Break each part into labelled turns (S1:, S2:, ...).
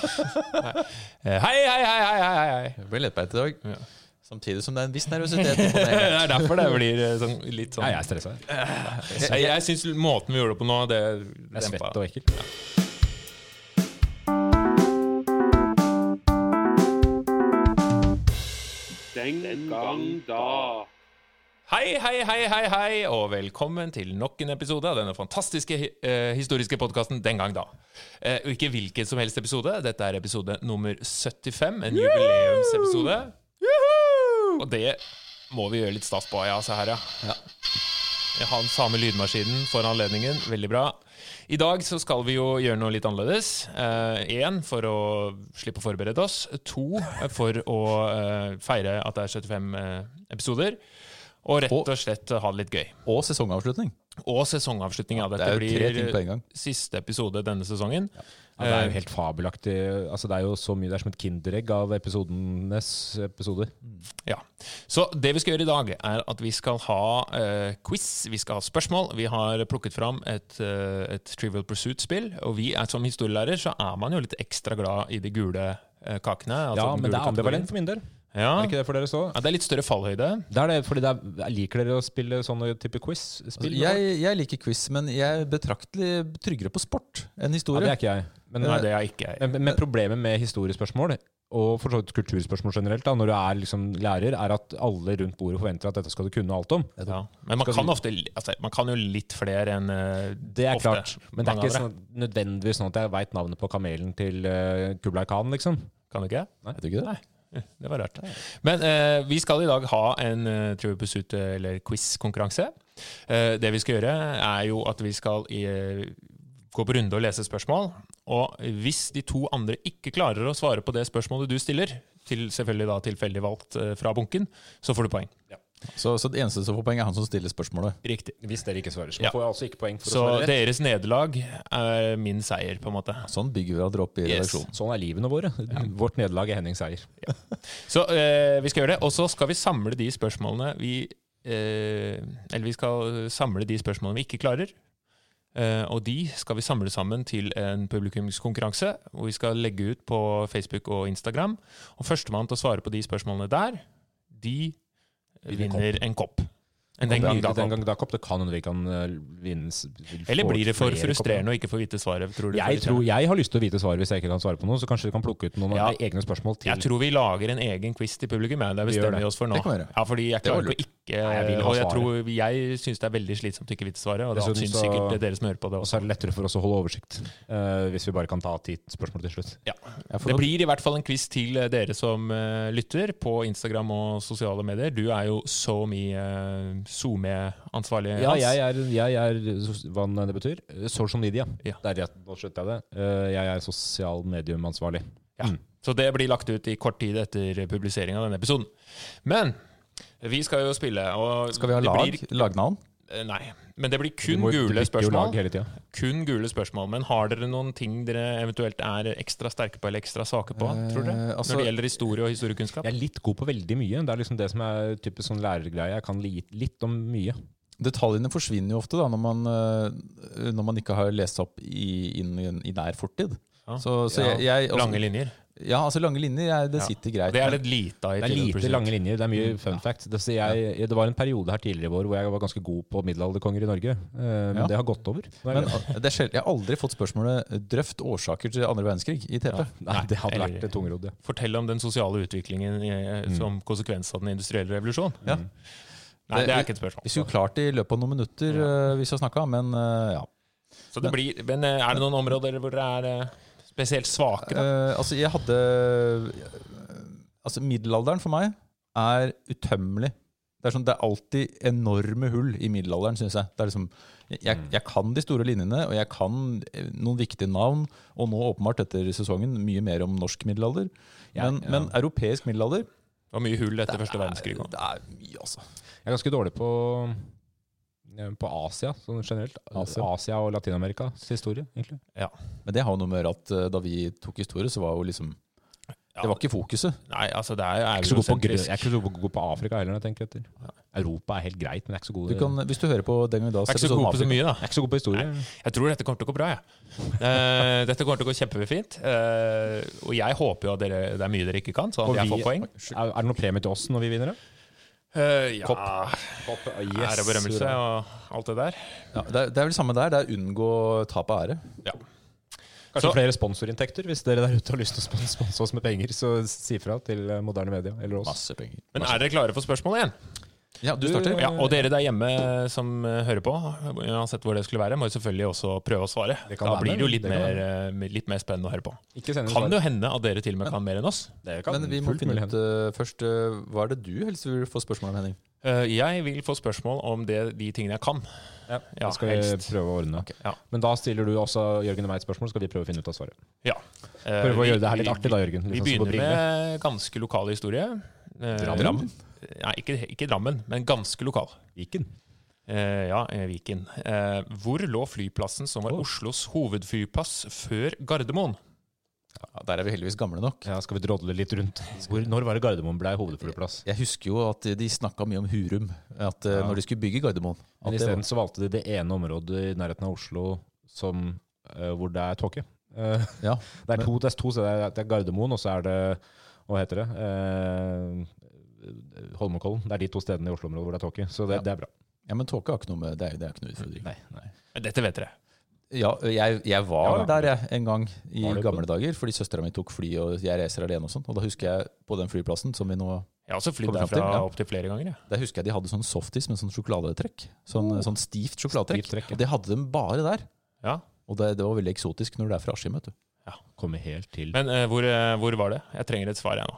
S1: Eh, Hei, hei, hei, hei, hei, hei.
S2: Det blir lettbeint i dag.
S1: Ja.
S2: Samtidig som det er en viss nervøsitet. i
S1: Det
S2: panelet.
S1: er derfor det blir eh, sånn, litt sånn
S3: Nei, jeg er stressa. Jeg
S1: Jeg, jeg syns måten vi gjorde det på nå, det
S3: er svett og ekkel.
S4: Den gang da.
S1: Hei, hei, hei, hei, hei, og velkommen til nok en episode av denne fantastiske eh, historiske podkasten Den gang da. Eh, og ikke hvilken som helst episode. Dette er episode nummer 75, en jubileumsepisode. Og det må vi gjøre litt stas på. Ja, se her, ja. Jeg har den samme lydmaskinen for anledningen. Veldig bra. I dag så skal vi jo gjøre noe litt annerledes. Én for å slippe å forberede oss. To eh, for å eh, feire at det er 75 eh, episoder. Og rett
S2: Og-
S1: og slett ha det litt gøy.
S2: Og sesongavslutning.
S1: Og sesongavslutning. Ja,
S2: Det
S1: dette
S2: er jo tre ting på
S1: blir
S2: en gang.
S1: siste episode denne sesongen.
S3: Ja, det er
S1: eh,
S3: jo helt fabelaktig. Altså, det er jo så mye Det er som et kinderegg av episodenes episoder.
S1: Ja. Så det vi skal gjøre i dag, er at vi skal ha eh, quiz, vi skal ha spørsmål. Vi har plukket fram et, eh, et Trivial Pursuit-spill, og vi er, som historielærer så er man jo litt ekstra glad i de gule eh, kakene. altså
S3: Ja,
S1: den
S3: men
S1: gule
S3: det er ambivalent for min del.
S1: kategorien. Ja.
S3: Er ikke det for dere så?
S1: ja, det er litt større fallhøyde.
S3: Det er det, fordi det er, liker dere å spille sånne type
S1: Altså,
S3: quiz-spill?
S2: Altså, Jeg, jeg liker quiz, men jeg er betraktelig tryggere på sport enn
S3: ja,
S2: historie.
S3: det er ikke jeg. Men,
S1: Nei, det er ikke jeg.
S3: men, men problemet med historiespørsmål, og for så vidt kulturspørsmål generelt, da, når du er liksom lærer, er at alle rundt bordet forventer at dette skal du kunne alt om.
S1: Ja. Men man
S3: Skal
S1: kan,
S3: du-
S1: ofte, altså, man kan jo litt flere enn eh,
S3: Det er
S1: ofte.
S3: klart, men det er
S1: Mange
S3: ikke
S1: av
S3: sånn, nødvendigvis sånn at jeg veit navnet på kamelen til eh, Kublai Khan, liksom.
S1: Kan du ikke?
S2: Vet du ikke det?
S1: Nei. Det var rart. Men eh, vi skal i dag ha en eh, Trivial Pursuit, eh, eller quiz-konkurranse. Eh, det vi skal gjøre, er jo at vi skal i, gå på runde og lese spørsmål. Og hvis de to andre ikke klarer å svare på det spørsmålet du stiller, til selvfølgelig da tilfeldig valgt eh, fra bunken, så får du poeng.
S2: Så, så det eneste som får poeng, er han som stiller spørsmålet.
S1: Riktig.
S3: Hvis dere ikke svarer, så
S1: Ja.
S3: får jeg altså ikke poeng for
S1: Så
S3: å svare rett.
S1: deres nederlag er min seier, på en måte.
S2: Sånn bygger vi hverandre opp i
S1: Yes.
S2: redaksjonen.
S3: Sånn er livene våre. Vårt nederlag er Henning Seier.
S1: Så eh, vi skal gjøre det, og så skal vi samle de spørsmålene vi eh, Eller vi skal samle de spørsmålene vi ikke klarer. Eh, og de skal vi samle sammen til en publikumskonkurranse. Hvor vi skal legge ut på Facebook og Instagram. Og førstemann til å svare på de spørsmålene der, de
S3: Vinner
S1: vinner en kopp. En den
S3: Og
S1: gang
S3: det-
S1: da
S3: den
S1: kopp.
S3: gang da kopp. Det kan hende vi kan eh, vinnes
S1: Eller blir det for frustrerende å ikke få vite svaret? Tror du,
S3: Jeg tror jeg har lyst til å vite svaret hvis jeg ikke kan svare på noe. Så kanskje vi kan plukke ut noen
S1: Ja.
S3: egne spørsmål til.
S1: Jeg tror vi lager en egen quiz til publikum. Ja, det
S3: gjør
S1: bestemmer
S3: det.
S1: vi oss for nå.
S2: Det kan vi gjøre.
S1: Ja, fordi jeg
S2: Det var
S1: klarer ikke å ikke
S3: Nei, jeg vil ha
S1: Og jeg,
S3: svaret.
S1: tror, jeg syns det er veldig slitsomt å ikke vite svaret, og det
S3: Dessuten
S1: syns
S3: så-
S1: sikkert dere som hører på det
S3: Og
S1: også.
S3: så er det lettere for oss å holde oversikt, eh, hvis vi bare kan ta ti spørsmål til slutt.
S1: Ja.
S2: Jeg
S1: Det
S2: får,
S1: blir i hvert fall en quiz til eh, dere som eh, lytter på Instagram og sosiale medier. Du er jo så mye SoMe-ansvarlig.
S3: Ja,
S1: Hans.
S3: jeg er, jeg er sos- hva enn det betyr, eh, social media.
S1: Ja.
S3: Der, ja, nå skjønte jeg det. Eh, Jeg er sosial mediumansvarlig.
S1: Ja. Så det blir lagt ut i kort tid etter publisering av denne episoden. Men vi skal jo spille, og
S2: skal vi ha
S1: det
S2: lag?
S1: blir-
S2: Lagnavn?
S1: eh, Nei. Men det blir
S3: Du
S1: kun
S3: må- du
S1: gule
S3: bytter jo
S1: spørsmål.
S3: lag hele tiden.
S1: kun gule spørsmål. Men har dere noen ting dere eventuelt er ekstra sterke på eller ekstra svake på? tror dere?
S2: Eh, altså-
S1: Når det gjelder historie og historiekunnskap?
S3: Jeg er litt god på veldig mye. Det er liksom det som er typisk sånn lærergreie. Jeg kan li- litt om mye.
S2: Detaljene forsvinner jo ofte da, når man, eh, når man ikke har lest seg opp i, inn i en- i nær fortid.
S1: Ja.
S2: Så, så
S3: Ja.
S2: jeg, jeg,
S1: Lange linjer.
S2: Ja, altså lange linjer, jeg, det
S1: Ja.
S2: sitter greit.
S1: Det er litt lite av i
S3: Det er
S1: 20%.
S3: lite lange linjer. Det er mye fun facts. Det, så jeg, jeg- det var en periode her tidligere i vår hvor jeg var ganske god på middelalderkonger i Norge. eh, Men
S2: Ja.
S3: det har gått over. Nå er
S2: Men
S3: jeg-
S2: det er sjeld- jeg har aldri fått spørsmålet eh, 'drøft årsaker til andre verdenskrig' i TP.
S1: Ja.
S3: nei, det hadde
S1: eller-
S3: vært en tungrodd, ja.
S1: Fortell om den sosiale utviklingen eh,
S3: Mm.
S1: som konsekvens av den industrielle revolusjonen. Mm.
S2: Ja.
S1: Nei,
S2: Det-
S1: det er ikke et spørsmål.
S2: Vi skulle klart det i løpet av noen minutter eh, hvis vi har snakka, men eh, ja.
S1: Så det blir, men eh, er det noen områder hvor dere er eh, spesielt svake? Da?
S2: Eh, altså, jeg hadde Altså, middelalderen for meg er utømmelig. Det er, sånn, det er alltid enorme hull i middelalderen, syns jeg. Det er liksom, jeg,
S1: Mm.
S2: jeg kan de store linjene, og jeg kan eh, noen viktige navn. Og nå åpenbart etter sesongen mye mer om norsk middelalder.
S3: Ja,
S2: Men,
S3: ja.
S2: men europeisk middelalder
S1: Det var mye hull etter første verdenskrig. også.
S2: Det er mye, altså.
S3: Jeg er ganske dårlig på eh, på Asia sånn generelt. Asia,
S2: Asia.
S3: og Latin-Amerikas historie, egentlig.
S2: Men det har jo noe med å gjøre at eh, da vi tok historie, så var jo liksom
S1: Ja.
S2: Det var ikke fokuset.
S1: Nei, altså det er jo
S3: Jeg er ikke så god på, grø-
S1: eurosentrisk.
S3: jeg er ikke så god på Afrika heller, når jeg tenker etter. Europa er helt greit, men jeg er ikke så god
S2: Du kan, hvis du hører på den gang da
S1: Jeg er ikke så god på så mye, da.
S3: jeg er ikke så god på historie.
S1: Jeg tror dette kommer til å gå bra, jeg. Eh, dette kommer til å gå kjempefint. Eh, og jeg håper jo at dere, det er mye dere ikke kan, sånn
S3: Og
S1: at jeg
S3: vi-
S1: får poeng.
S3: Er, er det noe premie til oss når vi vinner? det?
S1: Eh, ja.
S3: Yes,
S1: Ære og berømmelse
S3: hurra.
S1: og alt det der.
S2: Ah, Ja, det, er, det er vel samme der. Det er unngå tap av ære.
S1: Ja.
S3: Kanskje
S1: Så-
S3: flere sponsorinntekter. Hvis dere der ute har lyst til å spon- sponse oss med penger, så si fra til eh, moderne media eller oss.
S2: Masse penger.
S1: Men er dere klare for spørsmål igjen?
S2: Ja, du starter.
S1: Ja, og dere der hjemme som eh, hører på, uansett hvor det skulle være, må jo selvfølgelig også prøve å svare.
S3: Det kan
S1: Da
S3: være
S1: blir
S3: med,
S1: det jo litt
S3: det kan
S1: mer, eh, litt mer spennende å høre på.
S3: Ikke send inn
S1: Kan
S3: svar.
S1: det jo hende at dere til og med kan mer enn oss.
S3: Det kan
S2: Men vi må
S3: fullt
S2: finne
S3: mulig
S2: ut eh, først eh, Hva er det du helst vil få spørsmål om, Henning?
S1: Eh, Jeg vil få spørsmål om det, de tingene jeg kan.
S3: Ja,
S1: Ja,
S3: det skal vi
S1: helst.
S3: prøve å ordne.
S1: ja.
S3: Men da stiller du også Jørgen og meg et spørmål, så skal vi prøve å finne ut av svaret.
S1: Ja. Eh,
S3: Prøve å
S1: vi-
S3: gjøre det her litt
S1: vi-
S3: artig da, Jørgen.
S1: Vi
S3: Litt sånn som på
S1: begynner
S3: Brillen.
S1: med ganske lokal historie. Eh,
S3: Drammen?
S1: Nei, ikke, ikke Drammen, men ganske lokal.
S3: Viken.
S1: Eh, ja, eh, Viken. Eh, hvor lå flyplassen som var
S3: Oh.
S1: Oslos hovedflyplass før Gardermoen?
S2: Ja, der er vi heldigvis gamle nok.
S3: Ja, skal vi drodle litt rundt? Hvor, når var det Gardermoen ble hovedflyplass?
S2: Jeg husker jo at de snakka mye om Hurum at, eh,
S3: Ja.
S2: når de skulle bygge Gardermoen. At
S3: Men
S2: det var-
S3: Isteden så valgte de det ene området i nærheten av Oslo som, eh, hvor det er tåke. Eh,
S2: ja.
S3: det, er to- det er to steder. Det er- Det er Gardermoen, og så er det Hva heter det? Eh, Holmenkollen. Det er de to stedene i Oslo-området hvor det er tåke. Så det,
S2: Ja.
S3: det er bra.
S2: ja, men tåke har ikke noe med Det er, det er ikke noe utfordring.
S3: Nei, nei.
S1: Men Eh, Dette vet dere.
S2: Ja, jeg, jeg var
S3: Ja, da.
S2: der jeg en gang i
S3: Var du på
S2: gamle dager, fordi søstera mi tok fly, og jeg reiser alene og sånn. Og da husker jeg på den flyplassen som vi nå
S1: Jeg har også flydd
S2: Kommer frem
S1: derfra
S2: til, ja.
S1: opptil flere ganger. jeg.
S2: Der husker jeg de hadde sånn softis med sånn sjokoladetrekk. Sånn, sånn stivt sjokoladetrekk.
S3: Stivt trekk, ja.
S2: Og det hadde de bare der.
S1: Ja.
S2: Og det, det var veldig eksotisk når du er fra Askim, vet du.
S3: Kommer helt til
S1: Men eh, hvor, eh, hvor var det? Jeg trenger et svar, jeg nå.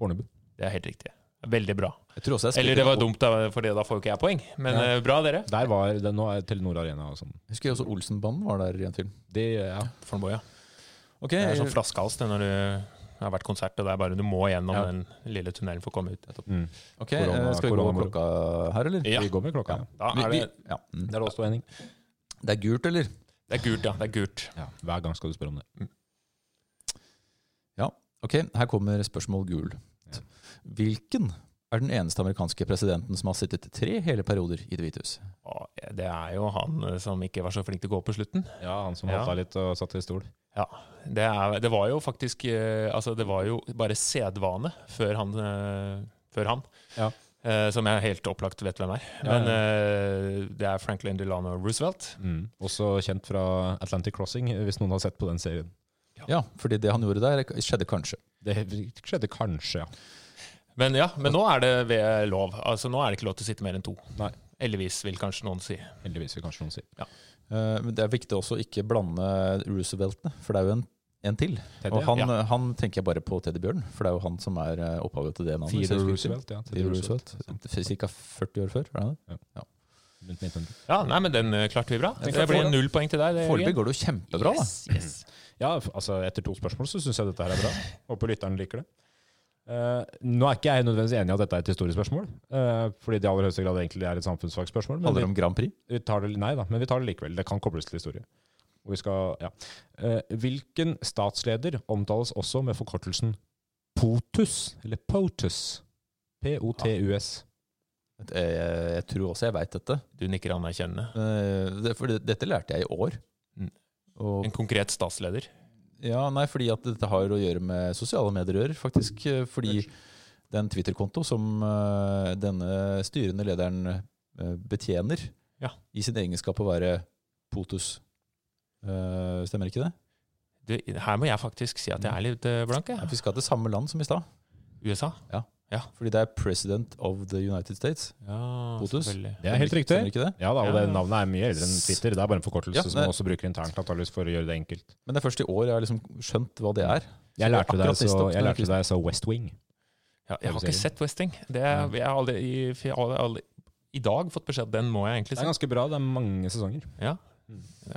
S3: Fornebu.
S1: Det er helt riktig. Veldig bra.
S2: Jeg tror også jeg
S1: Eller
S2: spilte-
S1: det var dumt, da, for det- da får jo ikke jeg poeng. Men
S3: Nei.
S1: eh, bra, dere.
S3: Der var det, nå er Telenor Arena og sånn.
S2: Husker jeg også Olsenbanden var der i en film.
S3: Det, ja.
S1: Fornboya.
S2: Ok,
S1: Det er sånn flaskehals det når du har vært konsert, og det er bare du må gjennom
S3: Ja.
S1: den lille tunnelen for å komme ut.
S3: Mm.
S2: ok,
S3: korona-
S2: eh, skal vi gå over
S3: koronamoro.
S2: klokka her, eller?
S1: Ja.
S3: Vi går med klokka.
S1: Da
S2: Vi-
S1: er
S2: vi-
S1: det,
S2: ja. mm.
S3: Det er også Henning.
S2: Det er gult, eller?
S1: det er gult, ja. Det er gult.
S3: Ja, hver gang skal du spørre om det.
S2: Ok, her kommer spørsmål gul.
S3: Ja.
S2: Hvilken er den eneste amerikanske presidenten som har sittet tre hele perioder i Det hvite hus?
S1: Å, Det er jo han eh, som ikke var så flink til å gå på slutten.
S3: Ja, han som
S1: Ja.
S3: holdt deg litt og satt i stol.
S1: Det, er, det var jo faktisk eh, Altså, det var jo bare sedvane før han, eh, før han
S3: Ja.
S1: eh, som jeg helt opplagt vet hvem er.
S3: Ja,
S1: Men eh, det er Franklin Delano Roosevelt.
S3: Mm. Også kjent fra Atlantic Crossing, hvis noen har sett på den serien.
S2: Ja, fordi det han gjorde der, skjedde kanskje.
S3: Det skjedde kanskje, ja.
S1: Men ja, men nå er det ved lov. Altså, nå er det ikke lov til å sitte mer enn to.
S3: Nei.
S1: Heldigvis, vil kanskje noen si.
S3: Heldigvis, vil kanskje noen si.
S2: Eh, Men det er viktig også å ikke blande Rooseveltene, for det er jo en, en til.
S3: Teddy,
S2: Og han,
S1: ja.
S2: han tenker jeg bare på Teddy Bjørn, for det er jo han som er eh, opphavet til det navnet. hvis jeg
S3: Theodore
S2: husker
S3: Roosevelt. Ja,
S2: riktig. Theodore Roosevelt. Cirka 40 år før, var det det?
S3: Rundt 1900.
S1: Ja, nei, men den eh, klarte vi bra.
S3: Den
S1: Det
S3: klarte vi
S1: blir
S3: bra.
S1: null poeng til deg. det, Jørgen.
S2: Foreløpig går det jo kjempebra, da.
S3: Ja, f- altså etter to spørsmål så syns jeg dette her er bra. Håper lytteren liker det. Eh, nå er ikke jeg nødvendigvis enig i at dette er et historisk spørmål, eh, fordi det i aller høyeste grad egentlig er et samfunnsfagspørsmål. Men
S2: Handler
S3: vi,
S2: det om Grand Prix?
S3: vi tar det, nei da, men vi tar det likevel. Det kan kobles til historie. Og vi skal, ja. Eh, hvilken statsleder omtales også med forkortelsen POTUS? Eller POTUS? P-O-T-U-S.
S2: Eh, Jeg tror også jeg veit dette.
S1: Du nikker anerkjennende.
S2: Eh, det- For det- dette lærte jeg i år.
S1: Mm.
S2: Og
S1: En konkret statsleder.
S2: Ja, nei, fordi at dette har å gjøre med sosiale medier, å gjøre, faktisk. eh, Fordi den Twitter-konto som eh, denne styrende lederen eh, betjener,
S1: Ja.
S2: i sin egenskap å være POTUS Eh, Stemmer ikke det?
S1: Du, her må jeg faktisk si at jeg er litt eh, blank.
S2: Nei,
S1: Jeg.
S2: Vi skal til samme land som i stad,
S1: USA.
S2: fordi det er President of the United States.
S1: Ja,
S2: Potus.
S1: selvfølgelig.
S3: Det er helt riktig.
S2: Stemmer ikke det?
S3: Ja da, og
S1: Ja.
S3: det navnet er mye eldre enn Twitter. Det er bare en forkortelse
S2: Ja,
S3: som man
S2: det-
S3: også bruker internt antageligvis for å gjøre det enkelt.
S2: Men det er først i år jeg har liksom skjønt hva det er.
S3: Jeg
S2: det er
S3: lærte deg
S2: akkurat
S3: så,
S2: tistopp,
S3: jeg
S2: men
S3: lærte deg så West Wing.
S1: Ja, jeg har ikke sett Westing. Det er, jeg har aldri, i- for jeg har aldri i dag fått beskjed at den må jeg egentlig
S3: Det er
S1: se.
S3: ganske bra. Det er mange sesonger.
S1: Ja.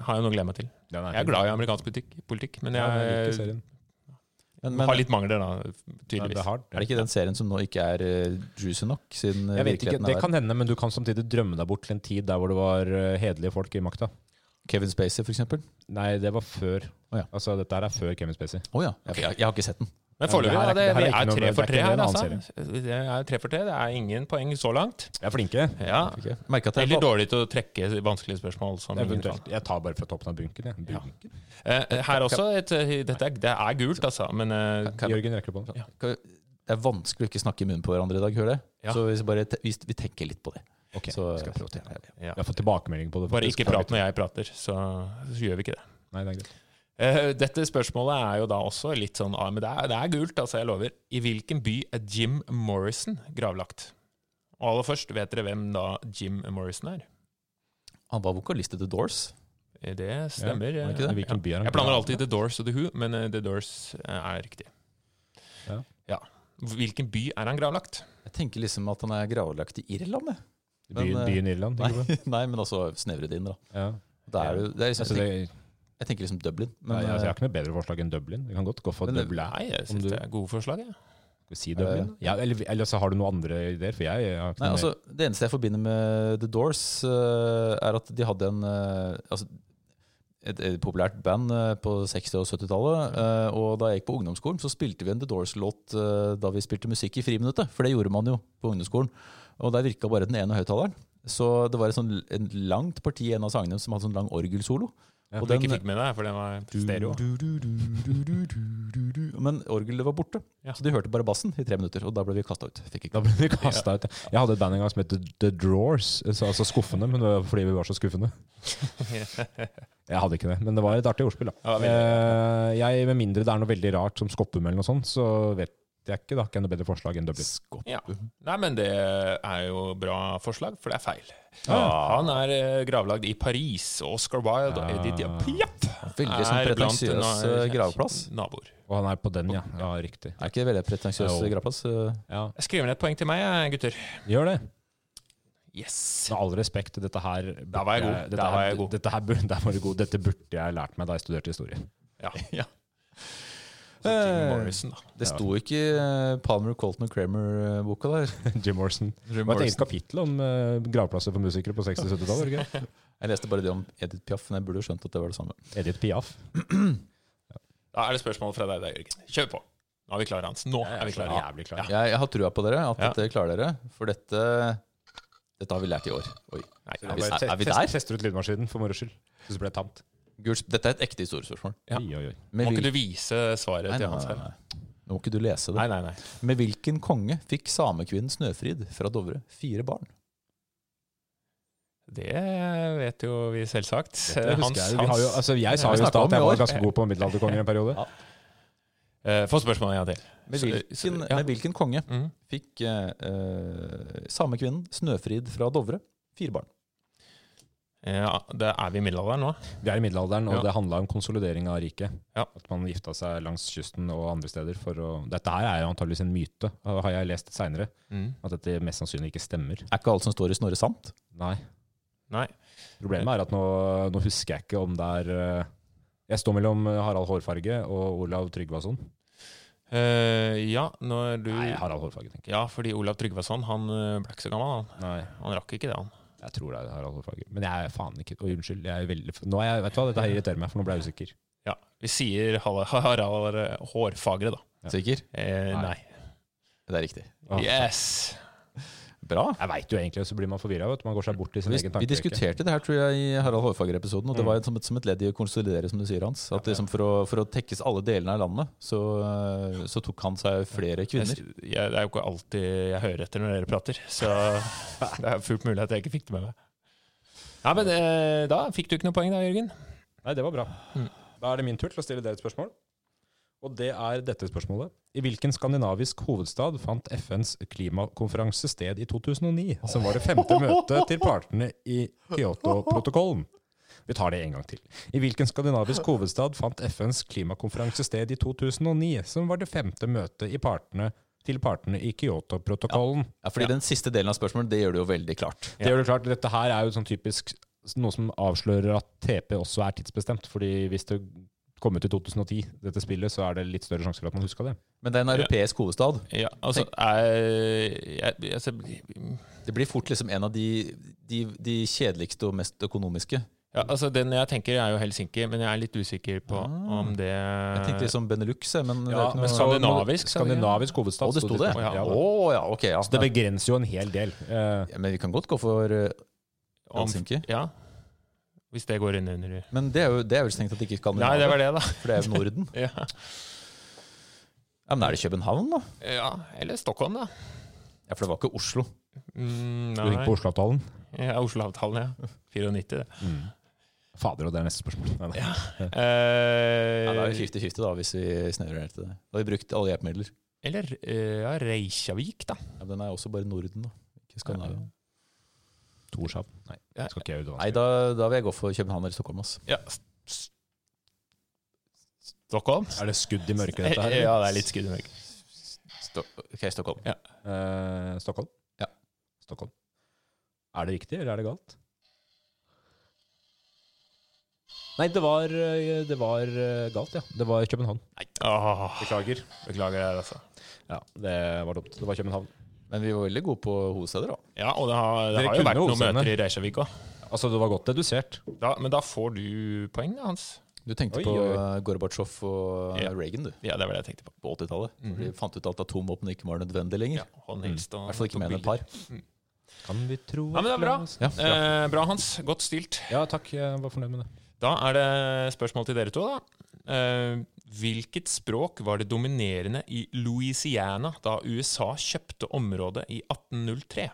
S1: Har jeg noe å glede meg til. Jeg er glad i amerikansk politikk, politikk men
S3: Ja, jeg liker
S1: jeg
S3: serien.
S2: Men, men
S1: har litt mangler, da,
S3: Nei, det
S1: tydeligvis.
S3: er hardt.
S2: er det ikke den serien som nå ikke er eh, juicy nok, siden eh,
S3: Jeg vet ikke,
S2: virkeligheten
S3: Det
S2: er der?
S3: kan hende, men du kan samtidig drømme deg bort til en tid der hvor det var eh, hederlige folk i makta.
S2: Kevin Spacey, for eksempel?
S3: Nei, det var før.
S2: Å ja.
S3: Altså, Dette her er før Kevin Spacey.
S2: Å ja. Jeg, jeg, jeg har ikke sett den.
S1: Men
S3: Ja, det
S1: foreløpig,
S3: her er
S1: ja, det,
S3: ikke- det her er
S1: vi
S3: ikke
S1: er tre
S3: noe- det er
S1: for
S3: ikke
S1: tre her,
S3: en annen
S1: altså. Det er tre for tre. Det er ingen poeng så langt.
S3: Vi er flinke.
S1: Ja.
S3: Flinke.
S2: Merker at jeg
S1: Eller dårlig til å trekke vanskelige spørsmål. Som ingen kan.
S3: Eventuelt. Jeg tar bare fra toppen av bunken. Jeg. bunken.
S1: Eh, her også et, dette er, Det er gult, altså, men eh,
S2: Kan-
S3: Jørgen rekker opp hånden.
S2: Kan- Det er vanskelig å ikke snakke i munnen på hverandre i dag, hører jeg.
S1: Ja.
S2: Så hvis vi bare te- hvis vi tenker litt på det.
S3: Ok,
S2: så,
S3: skal jeg prøve å tenke.
S1: ja.
S3: Jeg har fått tilbakemelding på det.
S1: Bare
S3: faktisk.
S1: ikke prat når jeg prater, så, så gjør vi ikke det.
S3: Nei, det er greit.
S1: Eh, dette spørsmålet er jo da også litt sånn ah, Men det er, det er gult, altså, jeg lover. I hvilken by er Jim Morrison gravlagt? Og aller først, vet dere hvem da Jim Morrison er?
S2: Han var vokalist i The Doors.
S1: Eh, Det stemmer. eh,
S3: Ja, var det ikke det?
S1: ja.
S3: Hvilken by er han?
S1: Jeg blander alltid The Doors og The Who, men eh, The Doors eh, er riktig.
S3: Ja.
S1: ja. Hvilken by er han gravlagt?
S2: Jeg tenker liksom at han er gravlagt i Irland, jeg.
S3: Byen,
S2: Men, eh,
S3: byen Irland, tenker du på?
S2: Nei, nei, men altså snevret inn, da.
S3: Ja.
S2: Det er, jo- det er liksom,
S3: Altså,
S2: jeg,
S3: det,
S2: tenker, jeg tenker liksom Dublin. Men
S3: nei, altså, jeg
S2: eh,
S3: har ikke noe bedre forslag enn Dublin. Vi kan godt gå for
S2: Men eh, det-
S3: Dublin.
S1: Nei, jeg
S3: Om
S1: syns
S3: du-
S1: det er gode forslag. Jeg.
S3: Skal vi si Dublin? Ja, eller, eller så har du noen andre ideer? For jeg, jeg har ikke
S2: nei,
S3: noe
S2: altså, det eneste jeg forbinder med The Doors, eh, er at de hadde en eh, altså, et, et populært band eh, på 60- og 70-tallet. eh, og da jeg gikk på ungdomsskolen, så spilte vi en The Doors-låt eh, da vi spilte musikk i friminuttet. For det gjorde man jo på ungdomsskolen. Og der virka bare den ene høyttaleren. Så det var et sånn en langt parti i en av sangene som hadde sånn lang orgelsolo.
S3: Ja,
S2: og
S1: Du
S2: den,
S1: ikke fikk med deg, for den var stereo.
S2: men orgelet var borte,
S1: Ja.
S2: så de hørte bare bassen i tre minutter. Og da ble vi kasta ut. Fikk ikke
S3: Da ble vi kastet ut. Jeg hadde et band en gang som het The- The Drawers, altså altså skuffende, men det var fordi vi var så skuffende. Jeg hadde ikke det, men det var et artig ordspill, da.
S1: Ja, det var
S3: Eh, jeg, med mindre det er noe veldig rart som Skoppum eller noe sånt, så vet jeg ikke. Da har ikke jeg noe bedre forslag enn Dublin.
S2: skopp.
S1: Ja. Nei, men det er jo bra forslag, for det er feil.
S3: Ah.
S1: Han er eh, gravlagd i Paris, og Oscar Wilde og
S3: Ah.
S1: Edith Piaf
S2: Veldig sånn
S1: er blant
S2: pretensiøs
S1: na-
S2: eh, gravplass.
S1: naboer.
S3: Og han er på den, ja. Ja, riktig.
S2: Er ikke det veldig pretensiøs
S3: Jo.
S2: gravplass? eh?
S3: Ja,
S1: Jeg skriver ned et poeng til meg, jeg, gutter.
S3: Gjør det.
S1: Yes!
S3: Med all respekt, dette her
S1: Da var jeg god.
S3: Dette,
S1: Da var jeg
S3: her-
S1: god.
S3: Dette, her, bur- der var du god. dette burde jeg lært meg da jeg studerte historie.
S1: Ja.
S2: Ja.
S1: Så Jim
S2: Eh.
S1: Morrison, da.
S2: Det sto ikke i Palmer, Colton og Kramer-boka der.
S3: Jim Morrison. Det var et eget kapittel om eh, gravplasser for musikere på 60- og 70-tallet.
S2: Jeg leste bare det om Edith Piaf, men jeg burde jo skjønt at det var det samme.
S3: Edith Piaf.
S1: Da er det spørsmål fra deg, da, Jørgen. Kjør på! Nå er vi klare, Hans. Nå er vi klare.
S3: Jævlig klar.
S2: Jeg, jeg har trua på dere, at
S1: Ja.
S2: dette klarer dere. For dette Dette har vi lært i år. Oi.
S1: Nei,
S2: Er
S1: ja,
S2: vi,
S1: men-
S2: er, er vi
S3: Test-
S2: der?
S3: Tester ut lydmaskinen, for moro skyld. Hvis det ble tamt.
S2: Gult, dette er et ekte historiespørsmål.
S1: Ja.
S3: Oi, oi, oi.
S2: Med
S1: Må ikke du
S2: hvil-
S1: vise svaret
S2: Nei,
S1: til
S2: nei,
S1: Hans
S2: nei,
S1: her?
S2: nei. Nå må ikke du lese det.
S1: Nei, nei, nei.
S2: Med hvilken konge fikk samekvinnen Snøfrid fra Dovre fire barn?
S1: Det vet jo vi selvsagt. Eh,
S3: Det husker
S1: Hans,
S3: jeg. jo. Vi har jo,
S1: Hans.
S3: altså, jeg sa
S2: Vi
S3: jo i
S2: snakket om
S3: stad at jeg
S2: i
S3: var
S2: år.
S3: ganske god på middelalderkonger en periode.
S2: Ja.
S1: Eh, Få spørsmålet en gang til.
S2: Med
S1: Så-
S2: hvilken,
S1: så- ja.
S2: med hvilken konge
S1: Mhm.
S2: fikk eh, eh, samekvinnen Snøfrid fra Dovre fire barn?
S1: Ja, det er vi i middelalderen nå.
S3: Vi er i middelalderen, og
S1: Ja.
S3: det handla om konsolidering av riket.
S1: Ja.
S3: At man gifta seg langs kysten og andre steder for å Dette her er jo antageligvis en myte, har jeg lest seinere.
S1: Mm.
S3: At dette mest sannsynlig ikke stemmer.
S2: Er ikke alt som står i Snorre sant?
S3: Nei.
S1: Nei.
S3: Problemet er at nå, nå husker jeg ikke om det er eh, Jeg står mellom Harald Hårfarge og Olav Tryggvason.
S1: Eh, ja, når du
S3: Nei, Harald Hårfarge, tenker jeg.
S1: Ja, fordi Olav Tryggvason han eh, ble ikke så gammel. Han,
S3: Nei,
S1: han rakk ikke det, han.
S3: jeg tror det er Harald Hårfarge. Men jeg er faen ikke Oi, Unnskyld. Jeg er veldig Nå er jeg, Vet du hva, dette her irriterer meg, for nå ble jeg usikker.
S1: Ja, Vi sier Halla- Harald eh, Hårfagre, da.
S3: Ja.
S2: Sikker?
S1: Eh, nei.
S2: Det er riktig.
S3: Åh.
S1: Yes!
S2: Bra.
S3: Jeg veit jo egentlig, så blir man forvirra. Man går seg bort i sin
S2: Vi,
S3: egen Mm.
S2: vi
S3: tankerekke.
S2: diskuterte det her tror jeg, i Harald Hårfagre-episoden, og det var som et, som et ledd i å konsolidere, som du sier, Hans. At liksom for, å, for å tekkes alle delene av landet, så, eh, så tok han seg flere kvinner.
S1: Jeg, jeg, det er jo ikke alltid jeg hører etter når dere prater, så det er fullt mulig at jeg ikke fikk det med meg. Ja, men eh, Da fikk du ikke noe poeng, da, Jørgen.
S3: Nei, det var bra.
S1: Mm.
S3: Da er det min tur til å stille dere et spørsmål. Og det er dette spørsmålet. I hvilken skandinavisk hovedstad fant FNs klimakonferanse sted i 2009, som var det femte møtet til partene i Kyoto-protokollen? Vi tar det en gang til. I hvilken skandinavisk hovedstad fant FNs klimakonferanse sted i 2009, som var det femte møtet i partene, til partene i Kyoto-protokollen?
S2: Ja, fordi den siste delen av spørsmålet, det gjør det jo veldig klart.
S1: Ja.
S3: Det gjør det klart, dette her er jo sånn typisk noe som avslører at TP også er tidsbestemt, fordi hvis det kom ut i 2010, dette spillet, så er det litt større sjanse for at man husker det.
S2: Men det er en europeisk hovedstad.
S1: Ja, altså, jeg, jeg, altså
S2: Det blir fort liksom en av de, de, de kjedeligste og mest økonomiske.
S1: Ja, altså Den jeg tenker, er jo Helsinki, men jeg er litt usikker på
S2: Ah.
S1: om det
S2: Jeg tenkte liksom Benelux, jeg, men det er
S3: Eh. Ja,
S2: ikke
S3: men
S2: noe
S1: så- skandinavisk, sa de.
S3: skandinavisk hovedstad.
S2: Å, det sto det? Å
S1: ja.
S2: ja, ok. Ja.
S3: Så det begrenser jo en hel del. Eh,
S2: ja, men vi kan godt gå for eh,
S1: om-
S2: Helsinki.
S1: Ja. Hvis det går inn under
S2: Men det er jo, det er vel strengt at det ikke
S1: Nei, det
S2: Skandinavia,
S1: var det, da.
S2: for det er jo Norden.
S1: Ja.
S2: Ja, Men er det København, da?
S1: Eh, ja. Eller Stockholm, da.
S2: Ja, For det var ikke Oslo.
S1: Mm,
S3: Du ringer
S1: nei.
S3: på Oslo-avtalen? Mm.
S1: Ja, Oslo-avtalen, ja. 94, det.
S3: Fader, og det er neste spørsmål. Nei, nei.
S2: Ja, Det er
S1: Eh,
S2: jo 50-50 da, hvis vi snevrer ned til det. Da har vi brukt alle hjelpemidler.
S1: eller eh, ja, Reykjavik, da.
S2: Ja, men den er jo også bare Norden, da. Ikke Skandinavia.
S3: Torshavn? Nei,
S1: Ja.
S3: skal ikke jeg ut
S2: Nei, da, da vil jeg gå for København eller Stockholm. ass.
S1: Ja. S- s- Stockholm? Eh,
S3: Er det skudd i mørket, dette her?
S1: Ja, det er litt skudd i mørket.
S2: Sto ok, Stockholm.
S3: Eh, Stockholm?
S2: Ja.
S3: Stockholm. Er det riktig, eller er det galt? Nei, det var, eh, det var eh, galt, ja. Det var København.
S1: Åh,
S3: Beklager.
S1: beklager det, altså.
S3: Ja, det var dumt. Det var København.
S2: Men vi var veldig gode på hovedsteder, da.
S1: Ja, og det har, det
S3: Dere
S1: har jo
S3: kunne
S1: vært noen
S3: hovedstaden.
S1: møter i Reykjavik òg.
S3: Altså, det var godt dedusert.
S1: Men da får du poeng, da, Hans.
S2: Du tenkte
S3: Oi,
S2: på
S3: oi.
S2: eh, Gorbatsjov og eh,
S1: Ja.
S2: Reagan, du.
S1: Ja, det var det jeg tenkte på.
S2: På 80-tallet. Når De fant ut at atomvåpen ikke var nødvendig lenger.
S1: Ja, håndhilst og
S2: I hvert fall ikke
S1: tok
S2: mer enn et
S1: bilder.
S2: par.
S3: Kan vi tro
S1: Ja, men det er bra.
S2: Ja.
S1: Eh, bra, Hans. Godt stilt.
S3: Ja, takk. Jeg var fornøyd med det.
S1: Da er det spørsmål til dere to, da. Eh, hvilket språk var det dominerende i Louisiana da USA kjøpte området i 1803?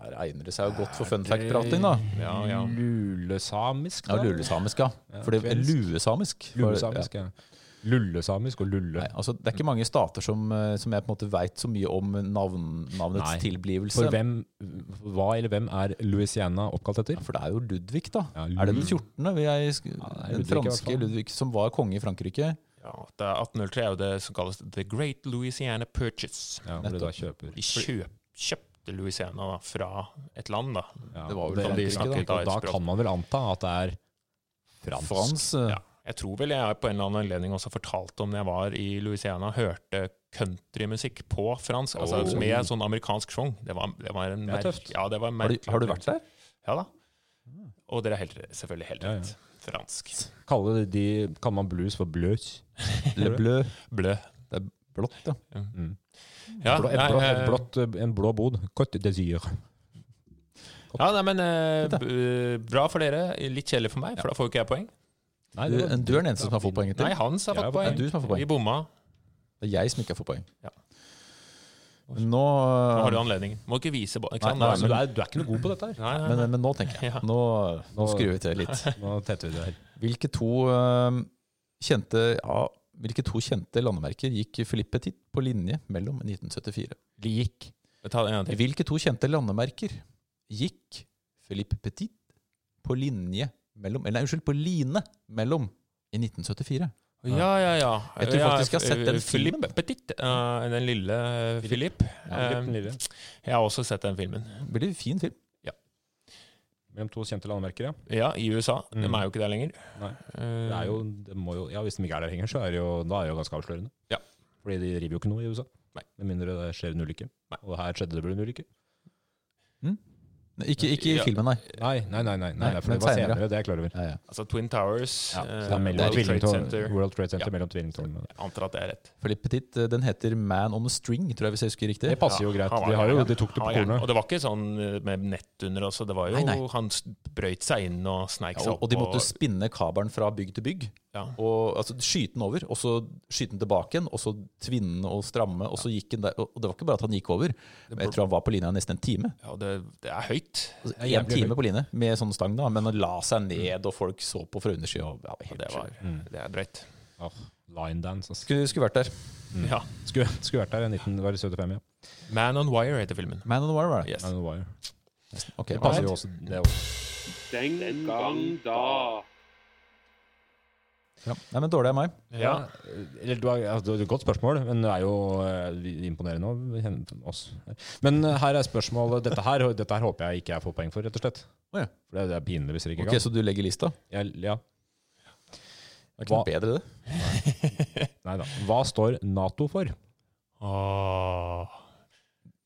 S2: Her egner det seg jo godt for fun fact-prating, da.
S1: Ja, ja.
S3: Lulesamisk,
S2: Ja, lulesamisk, ja.
S3: Ja,
S2: For det er
S3: kvensk.
S2: luesamisk. For-
S3: Lulesamisk, ja. Lullesamisk og
S2: Ja.
S3: lulle.
S2: Nei, altså, det er ikke mange stater som, eh, som jeg på en måte veit så mye om navn, navnets
S3: Nei.
S2: tilblivelse.
S3: For hvem, hva eller hvem er Louisiana oppkalt etter?
S2: Ja, For det er jo Ludvig, da.
S3: Ja,
S2: Er det den
S3: Lul-
S2: 14.? Vi er i sk
S3: det er
S2: den
S3: Ludvig i hvert
S2: franske
S3: fall.
S2: Ludvig som var konge i Frankrike.
S1: ja det er 1803 er jo det som kalles The Great Louisiana Purchase.
S3: Ja, hvor du da kjøper.
S1: De kjøp, kjøpte Louisiana da, fra et land, da.
S3: Ja,
S2: Det var vel sånn
S3: og
S2: Frankrike,
S3: de snakker
S1: da.
S3: ikke, og
S1: Da
S3: da
S1: et språk.
S3: kan man vel anta at det er fransk.
S2: Frans, eh,
S1: Ja. Jeg tror vel jeg på en eller annen anledning også fortalte om når jeg var i Louisiana, hørte countrymusikk på fransk, altså
S2: Oh.
S1: med sånn amerikansk sjong. Det var, det var en
S3: Det er
S1: merk-
S3: tøft.
S1: Ja, det var en
S2: Har, du,
S1: merkelig
S2: har du vært der?
S1: opplevelse. Ja da. Og dere er helt, re- selvfølgelig helt
S3: Ah. Ja, ja.
S1: rett. Fransk.
S3: Kaller de, kaller man blues for bløs?
S2: Le Bleu.
S1: Blø.
S2: Blått, ja.
S1: Ja,
S3: Mm. Blå, et
S1: nei,
S3: blå, et
S1: eh,
S3: blått, en blå bod. Côte d'Azur.
S1: ja, nei, men eh, b- bra for dere, litt kjedelig for meg, for da får jo ikke jeg poeng.
S3: Nei,
S2: Du,
S3: det var-
S2: du er den eneste som har fått poenget
S1: Nei,
S2: til.
S1: Hans har fått
S3: Jeg har fått-
S2: Det
S1: poeng.
S2: er du som har fått
S1: Vi
S2: poeng.
S1: bomma.
S2: Det er jeg som ikke har fått poeng.
S1: Ja.
S2: Nå,
S1: Nå har
S2: eh,
S1: du anledning. Må ikke vise ba- ikke
S2: Nei,
S1: sant?
S3: Nei,
S1: Nå
S3: men du
S1: er-
S3: er, du er ikke noe god på dette her.
S1: Nei, nei,
S2: men,
S1: nei.
S2: men nå tenker jeg.
S1: Ja.
S2: Nå, nå
S3: Nå-
S2: skrur vi til litt.
S3: Nå tetter vi det her.
S2: Hvilke to eh, kjente ja, hvilke to kjente landemerker gikk Filippe Titt på linje mellom 1974?
S3: Lik.
S1: Ta det en gang til.
S2: Hvilke to kjente landemerker gikk Philippe Petit på linje mellom Eller nei, unnskyld, på line mellom i 1974?
S1: Ja, ja, ja.
S2: Jeg tror faktisk jeg har
S1: Ja,
S2: sett den
S1: eh, Philippe
S2: filmen.
S1: Petit, eh, den lille eh, Philip.
S2: Um,
S1: Eh,
S3: Liten lille.
S1: jeg har også sett den filmen.
S2: Veldig fin film.
S3: Mellom to kjente landemerker, ja.
S1: Ja, i USA.
S3: Mm.
S1: De er jo ikke der lenger.
S3: Nei.
S1: Eh,
S3: Det er jo, det må jo, ja, hvis de ikke er der lenger, så er det jo, da er det jo ganske avslørende.
S1: Ja.
S3: Fordi de river jo ikke noe i USA.
S1: Nei.
S3: Med mindre det skjer en ulykke.
S1: Nei.
S3: Og her skjedde det vel en ulykke.
S2: Nei, Ikke, ikke i
S1: Ja.
S2: filmen, nei.
S3: Nei, nei, nei, nei, nei,
S2: Eh, Nei,
S3: for
S2: men
S3: det var
S2: senere.
S3: senere, det er jeg klar over.
S2: Ja, ja.
S1: altså Twin Towers,
S3: Ja,
S1: eh,
S3: så det er mellom
S1: World
S3: Trade
S1: Trade Center.
S3: World Trade Center
S1: Ja.
S3: mellom tvillingtårnene.
S1: Jeg antar at det er rett.
S2: Philippe Petit, eh, den heter Man on a String, tror jeg hvis jeg husker riktig.
S3: Det passer jo
S1: Ja,
S3: greit.
S1: han var
S3: De, har jo,
S1: gæren.
S3: de tok det
S1: Han var
S3: på
S1: gæren.
S3: kornet.
S1: Og det var ikke sånn eh, med nett under også. Det var jo
S2: Nei, nei.
S1: Han s- brøyt seg inn og sneik
S2: Ja,
S1: seg
S2: og,
S1: opp.
S2: og de måtte spinne kabelen fra bygg til bygg.
S1: ja.
S2: Og, altså, skyte den over, og så skyte den tilbake igjen, og så tvinne den og stramme. Og så gikk den der, og og det var ikke bare at han gikk over, men jeg tror han var på linja nesten en time.
S1: ja, det, det er høyt.
S2: Altså,
S3: Ja,
S2: en
S3: jævlig
S2: time på linje med sånn stang, da, men han la seg ned, og folk så på fra undersida. og- Ja,
S1: Og
S2: det var helt
S1: det, var,
S2: sjukt.
S3: Mm.
S1: det er drøyt.
S3: Ah, line dance, altså.
S2: skulle, skulle vært der.
S1: Ja.
S3: Skulle, skulle vært der i 1975, ja.
S1: Man on Wire heter filmen.
S2: Man on the wire, var det?
S1: Yes.
S3: Nei, det var jo.
S2: Ok,
S3: Det passer
S2: men-
S3: jo også. Det er jo-
S4: Dengang da.
S2: ja. Nei, men dårlig av meg.
S1: Ja.
S3: Eller, du har, ja, det er et godt spørsmål, men det er jo eh, imponerende av hen- oss. Men eh, her er spørsmålet Dette her, dette her håper jeg ikke jeg får poeng for, rett og slett.
S2: Å, ja.
S3: For det, det er pinlig hvis dere ikke
S2: Ok, Så du legger lista? Det
S3: kan. Jeg, ja.
S2: er ikke noe bedre, det.
S3: Nei da. Hva står Nato for?
S1: Åh.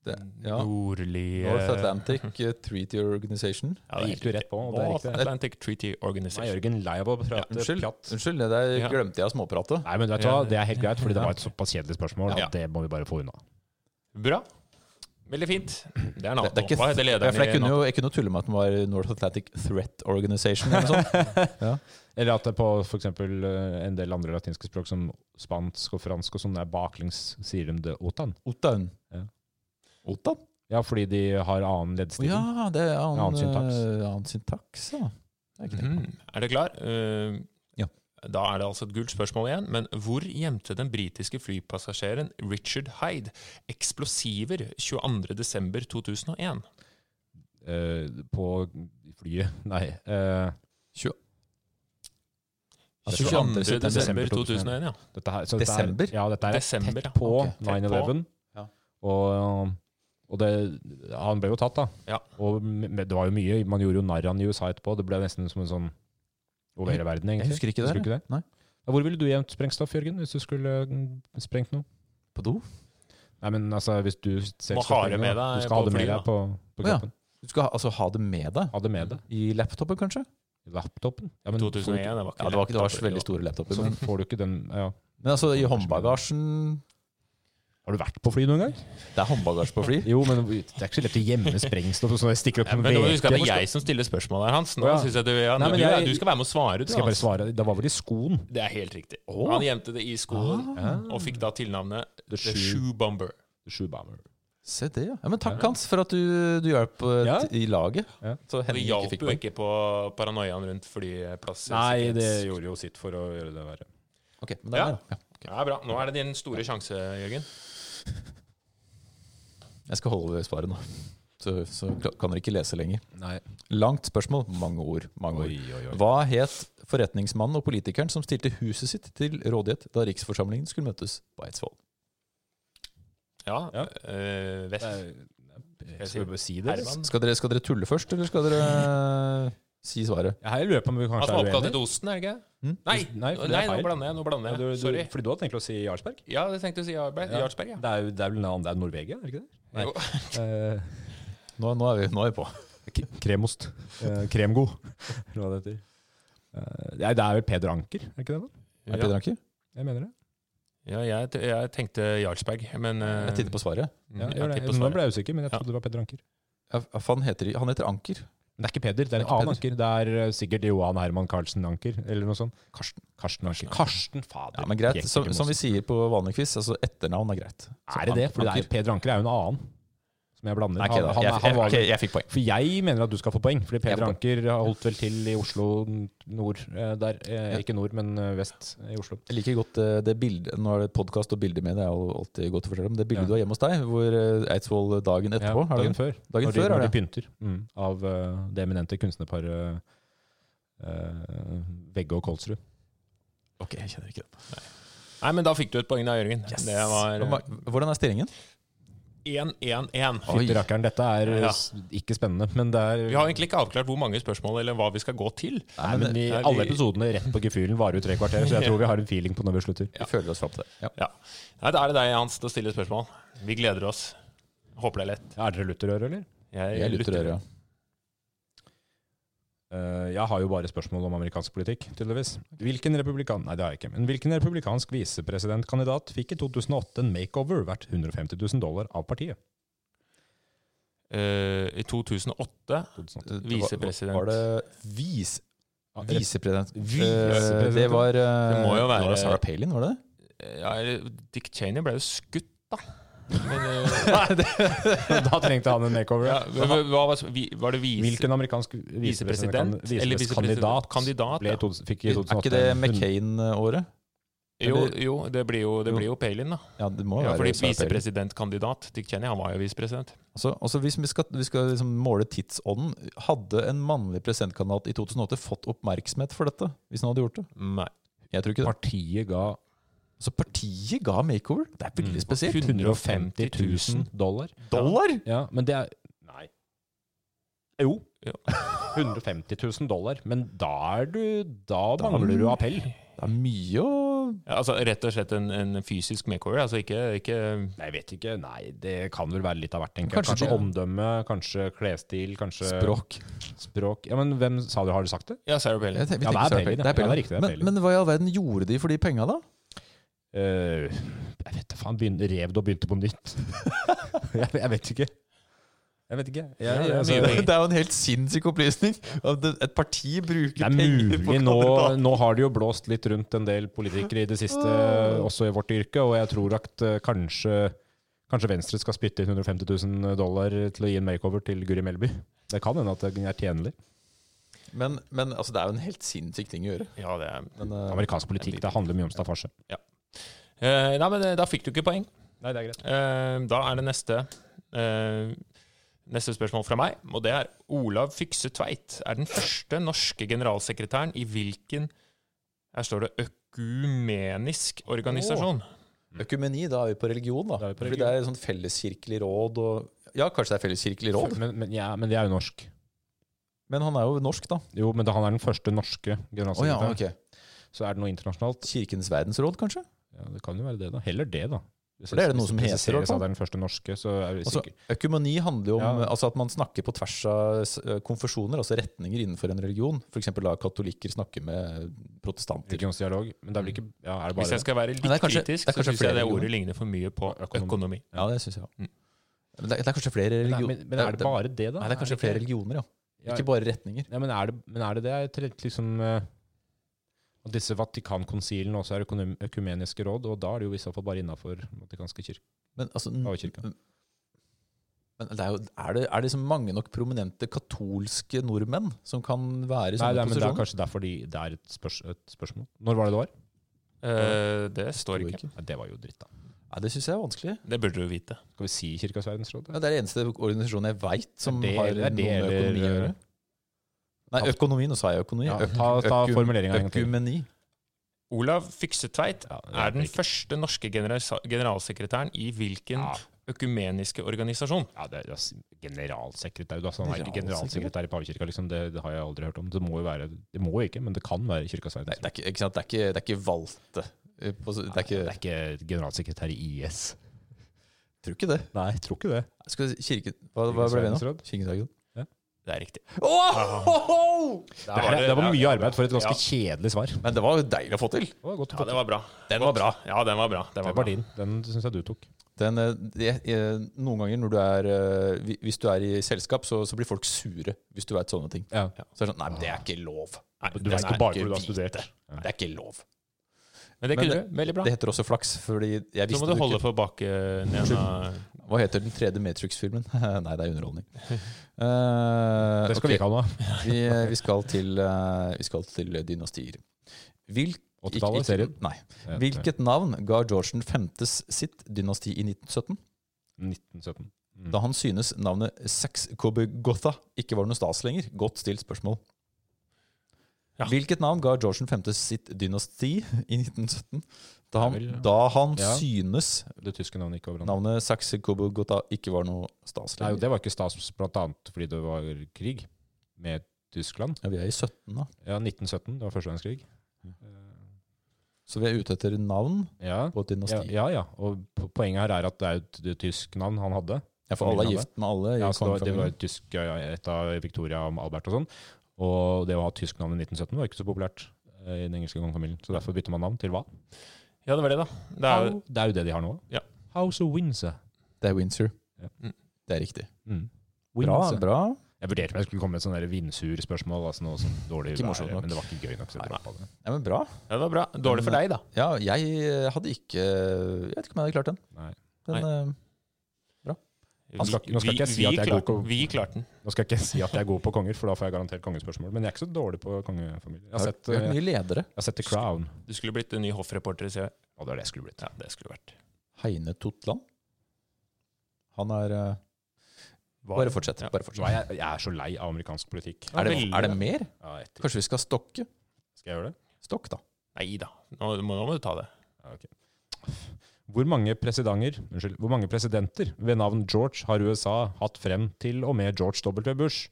S2: Det, ja.
S1: Nordlige
S2: North Atlantic eh, Treaty Organization.
S1: Ja, det er
S3: Det gikk du rett på, og det er
S1: North
S3: riktig.
S1: Atlantic Treaty
S3: Nå er
S1: Organization.
S3: Jørgen lei av å prate
S2: Unnskyld,
S3: pjatt.
S2: unnskyld, det der
S1: Ja.
S2: glemte jeg å småprate.
S3: Nei, men vet du hva,
S1: Ja.
S3: det er helt greit, fordi det var et såpass kjedelig spørsmål.
S1: Ja.
S3: at Det må vi bare få unna.
S1: Bra. Veldig fint. Det er
S2: Det,
S1: Nato.
S2: det er ikke,
S1: Hva heter
S2: ja, for
S1: lederen
S2: jeg
S1: i
S2: kunne
S1: Nato?
S2: jo jeg kunne jo tulle med at den var North Atlantic Threat Organization eller noe sånt.
S3: Eller at det på for eksempel eh, en del andre latinske språk, som spansk og fransk og sånn, er baklengs, sier de det OTAN.
S2: Ottaun.
S3: Ja.
S2: Ottaun?
S3: Ja, fordi de har annen
S2: Å
S3: leddstilling.
S2: ja, det er annen,
S3: Annen syntaks.
S2: eh, annen syntaks, ja. Det er ikke det.
S1: Mhm. Er du klar? Eh,
S2: Ja.
S1: Da er det altså et gult spørsmål igjen. Men hvor gjemte den britiske flypassasjeren Richard Hyde eksplosiver 22.12.2001?
S3: eh, på flyet. Nei. eh,
S2: Altså, 22. desember
S1: 22.12.2001, ja.
S3: dette her, så dette er-
S2: Desember?
S3: ja, dette er
S1: Desember, ja.
S3: tett på
S1: Ok, tett
S3: 9-11.
S2: Ja.
S3: Og, og det, han ble jo tatt, da.
S1: Ja.
S3: Og men det var jo mye. Man gjorde jo narr av han i USA etterpå. Det ble nesten som en sånn over hele verden,
S2: Jeg
S3: egentlig.
S2: husker ikke det.
S3: Husker du ikke det?
S2: Nei.
S3: Ja, Hvor ville du gjemt sprengstoff, Jørgen, hvis du skulle mm, sprengt noe?
S2: På do?
S3: Nei, men altså, hvis du selv
S1: Må
S3: skal
S1: ha det med
S3: sprenge noe,
S1: deg på
S3: Du skal ha det med
S1: flyet,
S3: deg på,
S2: Å
S3: på
S2: ja.
S3: kroppen.
S2: Du skal ha, altså ha det med deg?
S3: Ha det med deg.
S2: I laptopen, kanskje?
S3: Laptopen. Ja, men får du ikke-
S1: 2001, det var ikke
S2: Ja, det var, det var
S1: laptop.
S2: veldig store laptoper.
S3: Så
S2: Men,
S3: får du ikke den ja.
S2: Sånn. men altså, i håndbagasjen
S3: Har du vært på fly noen gang?
S2: Det er håndbagasje på fly.
S3: Jo, men det er ikke så lett å gjemme sprengstoff. og Sånn, jeg stikker opp
S1: Ja,
S3: en
S1: men nå må du huske at det
S3: veke.
S1: er jeg som stiller spørsmål her, Hans. Nå
S3: Ja.
S1: synes jeg Du, ja,
S3: Nei, men
S1: du, ja,
S3: jeg-
S1: du skal være med å svare, du.
S3: Skal jeg bare
S1: Hans.
S3: svare? Det var vel i skoen.
S1: Det er helt riktig. Han gjemte det i skoen, og fikk da tilnavnet The
S3: Shoe-
S1: Shoe Bomber.
S3: Shoe bomber.
S2: Se det, ja. ja men takk, Hans, for at du, du hjalp eh,
S3: Ja.
S2: t- i laget.
S3: Ja.
S2: Så
S1: Det
S2: Henning ikke
S1: hjalp
S2: fikk
S1: jo
S2: poeng.
S1: ikke på paranoiaen rundt flyplass.
S3: Nei, det gjorde jo sitt for å gjøre det verre.
S2: Ok, men det
S1: Ja.
S2: er bra. Ja.
S1: Ja, bra. Nå er det din store sjanse, Jørgen.
S2: Jeg skal holde ved svaret nå. Så, så kla- kan dere ikke lese lenger.
S3: Nei.
S2: Langt spørsmål, mange ord. Mange
S3: Oi,
S2: ord.
S3: oi, oi.
S2: Hva het forretningsmannen og politikeren som stilte huset sitt til rådighet da riksforsamlingen skulle møtes på Eidsvoll?
S1: Ja.
S3: Ja.
S1: øh,
S3: Det
S1: Vest.
S3: er- Skal vi bare si det? eller?
S1: Herman.
S2: Skal dere, skal dere tulle først, eller skal dere eh, si svaret?
S3: Ja, her lurer jeg på om vi
S1: Han
S3: kanskje
S1: som var
S3: er
S1: oppkalt
S3: uenige.
S1: etter osten, er det ikke?
S2: Hm?
S1: Nei, nei,
S3: Nei, for det er
S1: nå
S3: feil.
S1: blander jeg. nå
S3: Ja,
S1: blander
S3: du,
S1: jeg.
S3: du,
S1: Sorry.
S3: fordi du hadde tenkt å si Jarlsberg?
S1: Ja, det tenkte jeg å si Jarlberg.
S3: Ja.
S1: Jarlsberg, ja.
S3: Det er, jo- det er vel en annen, det er Norvegia, er det ikke det? Nei.
S1: Jo.
S3: Eh,
S2: Nå, nå, er, vi, nå er vi på.
S3: k- kremost. Eh, kremgod, eller hva det heter. Eh, nei, det er vel Peder Anker, er det ikke det? da?
S2: Er Peder Anker?
S3: Jeg mener det.
S1: Ja, jeg, t- jeg tenkte Jarlsberg, men øh,
S2: Jeg titter på svaret.
S1: mm,
S3: Ja,
S1: jeg
S3: gjør det.
S1: titter på
S3: Nå
S1: svaret.
S3: ble jeg usikker, men jeg
S1: Ja.
S3: trodde det var Peder Anker.
S2: Ja, for Han heter, han heter Anker.
S3: Men det er ikke Peder, det er
S2: Det er
S3: en
S2: ikke
S3: annen Anker. Det er eh, sikkert Johan Herman Karlsen Anker, eller noe sånt. Karsten. Karsten Anker. Karsten, fader.
S2: Ja, men greit,
S3: Gikk
S2: som,
S3: ikke
S2: som vi
S3: med oss.
S2: sier på vanlig quiz, altså etternavn er greit. Så
S3: Er det det?
S2: Anker-
S3: For det er,
S2: Anker.
S3: Peder Anker er jo en annen som jeg blander.
S2: Nei, ikke
S3: Han-
S2: da.
S3: han er-
S2: Jeg,
S3: han
S2: jeg,
S3: var
S2: ok, jeg fikk poeng.
S3: For jeg mener at du skal få poeng, fordi
S2: Jeg
S3: Peder
S2: får
S3: Anker har holdt vel til i Oslo n- nord eh, der. eh,
S2: Ja.
S3: Ikke nord, men eh, vest i Oslo.
S2: Jeg liker godt eh, det bildet Nå er det podkast og bilder med, det er jo alltid godt å fortelle om. Det bildet
S3: Ja.
S2: du har hjemme hos deg, hvor eh, Eidsvoll dagen etterpå er
S3: Ja,
S2: det den?
S3: dagen før.
S2: dagen
S3: når de,
S2: før
S3: når
S2: er
S3: de
S2: det.
S3: pynter mm, av eh, det eminente kunstnerparet eh, Vegge og Kolsrud.
S2: Ok, jeg kjenner ikke det.
S1: Nei, men da fikk du et poeng da, Jørgen. Det var eh, øh,
S2: Hva- Hvordan er stillingen?
S1: 1-1-1.
S2: Oi.
S3: Fytti rakkeren, dette er eh,
S1: Ja.
S3: s- ikke spennende, men det er
S1: Vi har egentlig ikke avklart hvor mange spørsmål eller hva vi skal gå til.
S3: Nei, men vi,
S1: Nei, vi-
S3: Alle episodene rett på gefühlen varer jo tre kvarter, så jeg tror vi har en feeling på når vi slutter.
S2: Vi føler oss fram til det. Ja.
S1: Ja. Nei, da er det deg, Hans, til å stille spørsmål. Vi gleder oss. Håper det er lett.
S3: Er dere lutherøre, eller?
S2: Jeg lytter øre.
S3: Eh, jeg har jo bare spørsmål om amerikansk politikk, tydeligvis. Hvilken republikan... Nei, det har jeg ikke. Men hvilken republikansk visepresidentkandidat fikk i 2008 en makeover verdt 150 000 dollar av partiet?
S1: Eh, I 2008
S2: Det
S3: 2008.
S2: var-
S1: Visepresident.
S2: Var det vis,
S3: Ah, rett-
S2: visepresident?
S3: Visepresident.
S2: Eh, det var eh,
S1: Det må jo være-
S2: Laura Sarah Palin, var det det?
S1: ja, eller Dick Cheney ble jo skutt, da. Men, eh,
S2: eh,
S3: da trengte han en makeover.
S1: ja, hva, hva- hva, var- vi- var det vise...
S3: Hvilken amerikansk
S1: Visepresident?
S3: visepresident
S1: Eller visepresident-
S3: visepresidentkandidat
S1: kandidat,
S3: ble
S1: ja.
S3: i to- fikk i 2008
S2: Er ikke det
S3: en hund-
S2: McCain-året?
S1: Jo, jo, det blir jo, det
S2: Jo.
S1: blir jo Palin, da.
S2: Ja, det må jo
S1: Ja,
S2: være
S1: fordi
S2: Sarah Palin.
S1: visepresidentkandidat Dick Cheney, han var jo visepresident.
S2: Altså, altså hvis vi skal, vi skal liksom måle tidsånden Hadde en mannlig presidentkandidat i 2008 fått oppmerksomhet for dette? Hvis han hadde gjort det?
S1: Nei.
S2: Jeg tror ikke det.
S3: Partiet ga
S2: Så partiet ga makeover? Det er
S1: Mm.
S2: veldig spesielt.
S3: 150 000 dollar.
S2: Dollar?!
S3: Ja, men det er Nei. Jo.
S1: Ja.
S3: 150 000 dollar. Men da er du Da mangler du appell.
S2: Det er mye å
S1: Ja, altså Rett og slett en, en fysisk makeover? Altså ikke, ikke
S3: Nei, Jeg vet ikke. Nei, det kan vel være litt av hvert, tenker jeg.
S2: Kanskje
S3: Kanskje
S2: det.
S3: omdømme, kanskje klesstil, kanskje
S2: Språk.
S3: Språk. Ja, men hvem sa du Har du sagt det?
S1: Ja, Sarah Palin.
S2: Jeg tenker- vi
S3: Ja,
S2: tenker
S3: det
S2: Sarah
S3: er Palin,
S2: Palin.
S3: ja. Ja, det er riktig, det er
S2: men,
S3: Palin.
S2: men hva i all verden gjorde de for de penga, da?
S3: Eh, jeg vet da faen. Begynte, rev det og begynte på nytt. jeg, jeg vet ikke. Jeg vet ikke. Jeg,
S1: Ja, ja,
S3: altså,
S1: mye penger.
S2: Det er jo en helt sinnssyk opplysning. at det- Et parti bruker
S3: det er
S2: penger på
S3: mulig. Nå,
S2: kandidater.
S3: nå har det jo blåst litt rundt en del politikere i det siste, også i vårt yrke, og jeg tror at eh, kanskje, kanskje Venstre skal spytte inn 150 000 dollar til å gi en makeover til Guri Melby. Det kan hende at det er tjenlig.
S2: Men, men altså, det er jo en helt sinnssyk ting å gjøre.
S1: Ja, det er
S2: Men, eh,
S3: Amerikansk politikk det handler mye om staffasje.
S1: Eh, Nei, men eh, da fikk du ikke poeng.
S3: Nei, det er greit.
S1: Eh, da er det neste eh, Neste spørsmål fra meg, og det er Olav Fykse Tveit er den første norske generalsekretæren i hvilken Her står det økumenisk organisasjon.
S2: økumeni, da er vi på religion, da.
S3: Da er vi på
S2: Fordi det er et sånt felleskirkelig råd og Ja, kanskje det er felleskirkelig råd,
S3: Men, men, ja, men det er jo norsk.
S2: men han er jo norsk, da.
S3: Jo, men da han er den første norske
S2: Å ja,
S3: generalsekretæren,
S2: ok.
S3: så er det noe internasjonalt.
S2: Kirkens verdensråd, kanskje?
S3: Ja, det kan jo være det, da. Heller det, da. Hvis
S2: For det er det noe som
S3: hvis
S2: heter, i
S3: presiseres
S2: hvert fall.
S3: at det er den første norske, så er vi
S2: Altså,
S3: sikre.
S2: økumeni handler jo om
S3: Ja.
S2: altså at man snakker på tvers av s- eh, konfesjoner, altså retninger innenfor en religion. F.eks. la katolikker snakke med protestanter.
S3: Religionsdialog. Men det er vel ikke ja, er det
S1: Hvis
S3: bare
S1: jeg skal være
S2: Men
S1: litt
S2: det er kanskje-
S1: kritisk,
S2: det er
S1: så
S2: kanskje
S1: syns jeg
S2: flere
S1: det ordet
S2: religioner.
S1: ligner for mye på
S3: Økonomi.
S1: økonomi.
S2: Ja, det syns jeg.
S1: Mm.
S2: Men det, er- det er kanskje flere
S3: men, er-
S2: religioner.
S3: men, men er det bare det, da?
S2: Nei, det er kanskje
S3: ikke-
S2: flere religioner, ja.
S3: Ja,
S2: Ikke bare retninger.
S3: ja, men, er det, men er det det? Jeg tenkte liksom eh, at disse Vatikankonsilene også er økonom- økumeniske råd, og da er det jo i så fall bare innafor vatikanske kirke.
S2: Men, altså, n-
S3: Av kirka.
S2: men det er, jo, er, det, er det liksom mange nok prominente katolske nordmenn som kan være i
S3: Nei,
S2: sånne
S3: det er, men det er
S2: posisjoner?
S3: kanskje derfor de, det er et, spørs, et spørsmål. Når var det det var?
S1: Eh, det står ikke.
S3: Nei, det var jo dritt, da.
S2: Nei, det syns jeg er vanskelig.
S1: Det burde du vite.
S3: Skal vi si Kirkas verdensråd?
S2: Ja, det er den eneste organisasjonen jeg veit som
S3: det-
S2: har
S3: er
S2: noe
S3: det
S2: med
S3: eller-
S2: økonomi å gjøre. Nei, økonomi. Nå sa jeg økonomi.
S3: Ja,
S2: Øk-
S3: ta- ta
S2: økum-
S3: formuleringen en gang til.
S2: Økumeni.
S1: Olav Fykse Tveit
S3: Ja, det er
S1: er den
S3: riktig.
S1: første norske generalsa- generalsekretæren i hvilken
S3: Ja.
S1: økumeniske organisasjon?
S3: Ja, det er, det er s- generalsekretær. Du, altså, han er ikke
S2: Generalsekretær?
S3: generalsekretær i pavekirka, liksom. det, det har jeg aldri hørt om. Det må jo være Det må jo ikke, men det kan være Kirkas
S2: Nei,
S3: verdensråd.
S2: det er ikke, ikke sant? Det er ikke, det er ikke valgte. eh, på- Det er ikke,
S3: det er ikke generalsekretær i IS.
S2: jeg tror ikke det.
S3: Nei, jeg tror ikke det.
S2: Skal vi si kirke, hva, hva ble det nå?
S3: Verdensråd?
S2: Kirkens verdensråd.
S1: Det er riktig. Ah.
S2: Åh!
S3: Det, her, det var mye arbeid for et ganske kjedelig svar.
S2: Men det var jo deilig å få til.
S3: Det var godt å
S1: Ja,
S3: få
S1: det
S3: til.
S1: var bra. Den var bra. Ja, den var bra. Den var
S3: Det
S1: bra.
S3: var din. Den syns jeg du tok.
S2: Den, eh, det er- noen ganger når du er eh, hvi- Hvis du er i selskap, så, så blir folk sure hvis du vet sånne ting.
S3: Ja.
S2: Så er det sånn Nei, men det er ikke lov.
S1: Nei,
S3: Du
S1: den
S3: vet
S1: er
S3: ikke bare
S1: ikke
S3: hvor du har
S1: hvit.
S3: studert.
S2: Det er ikke lov.
S1: Men det
S2: Men
S1: kunne du. Veldig bra.
S2: Det heter også flaks, fordi jeg
S1: Så
S2: visste
S1: må du
S2: det
S1: holde
S2: ikke.
S1: for eh, bakenden.
S2: Hva heter den tredje Matrix-filmen? Nei, det er underholdning. Eh,
S3: Det skal vi
S2: ok.
S3: ikke ha noe av.
S2: vi, vi, skal til, eh, vi skal til dynastier. Hvil-
S3: 80-tallet,
S2: ikke- ikke-
S3: serien?
S2: Nei. Hvilket navn ga George 5.s sitt dynasti i 1917,
S3: 1917. Mm.
S2: da han synes navnet Sax-Coburgotha ikke var noe stas lenger? Godt stilt spørsmål.
S1: Ja.
S2: Hvilket navn ga George 5. sitt dynasti i 1917, da han,
S3: Det er vel-
S2: da han
S3: Ja.
S2: synes
S3: Det tyske navnet gikk over hverandre.
S2: navnet Sax-Coburgotha ikke var noe stas
S3: Nei,
S2: lenger?
S3: jo, det var ikke stas, blant annet fordi det var krig med Tyskland.
S2: ja, vi er i 17, da.
S3: Ja, 1917. Det var første verdenskrig.
S2: Så vi er ute etter navn
S3: Ja.
S2: på et dynasti.
S3: Ja, ja, ja. Og po- poenget her er at det er et, et tysk navn han hadde.
S2: Ja, for alle er gift med alle. i
S3: Ja, så det, var, det var
S2: kongefamilien.
S3: et tysk, ja, ja, et av Victoria og Albert og sånn. Og det å ha tysk navn i 1917 var ikke så populært eh, i den engelske kongefamilien. Så derfor bytter man navn til hva?
S1: Ja, det var det, da. Det er, jo-
S3: Det er jo det de har nå.
S1: Ja.
S3: House of Windsor.
S2: Det er Windsor.
S3: Ja.
S1: Mm.
S2: Det er riktig.
S3: Mm.
S2: Bra,
S3: Windsor.
S2: bra.
S3: Jeg vurderte om jeg skulle komme med et sånt der vindsur-spørsmål. Altså noe sånn dårlig
S2: Ikke morsomt
S3: vær,
S2: nok.
S3: Men det var ikke gøy nok. Så jeg droppa det.
S2: Ja, men bra.
S1: ja, det var bra. Dårlig for
S3: Mm.
S1: deg, da.
S2: Ja, jeg hadde ikke Jeg vet ikke om jeg hadde klart den.
S3: Nei.
S2: den eh,
S3: Han skal- nå skal ikke jeg si at jeg er god
S1: klarte,
S3: på-
S1: vi klarte den.
S3: Nå skal jeg ikke si at jeg er god på konger, for da får jeg garantert kongespørsmål. Men jeg er ikke så dårlig på kongefamilie. Jeg har
S2: har
S3: sett,
S2: vært- vært
S3: eh,
S2: mye ledere.
S3: jeg har sett The Crown.
S1: Du skulle blitt en ny hoffreporter, sier jeg.
S3: Og det er det jeg skulle blitt.
S1: Ja, det skulle vært.
S2: Heine Totland. Han er eh,
S1: Var-
S2: Bare fortsett.
S1: Ja.
S2: Bare
S3: Nå
S2: fortsett.
S3: er jeg, jeg er så lei av amerikansk politikk.
S2: Er, det,
S1: veldig-
S2: er det mer?
S3: Ja, etter.
S2: Kanskje vi skal stokke?
S3: Skal jeg gjøre det?
S2: Stokk, da.
S1: Nei da. Nå, må- nå må du ta det.
S3: Ja, ok. Hvor mange, presidenter- unnskyld, hvor mange presidenter ved navn George har USA hatt frem til og med George W. Bush?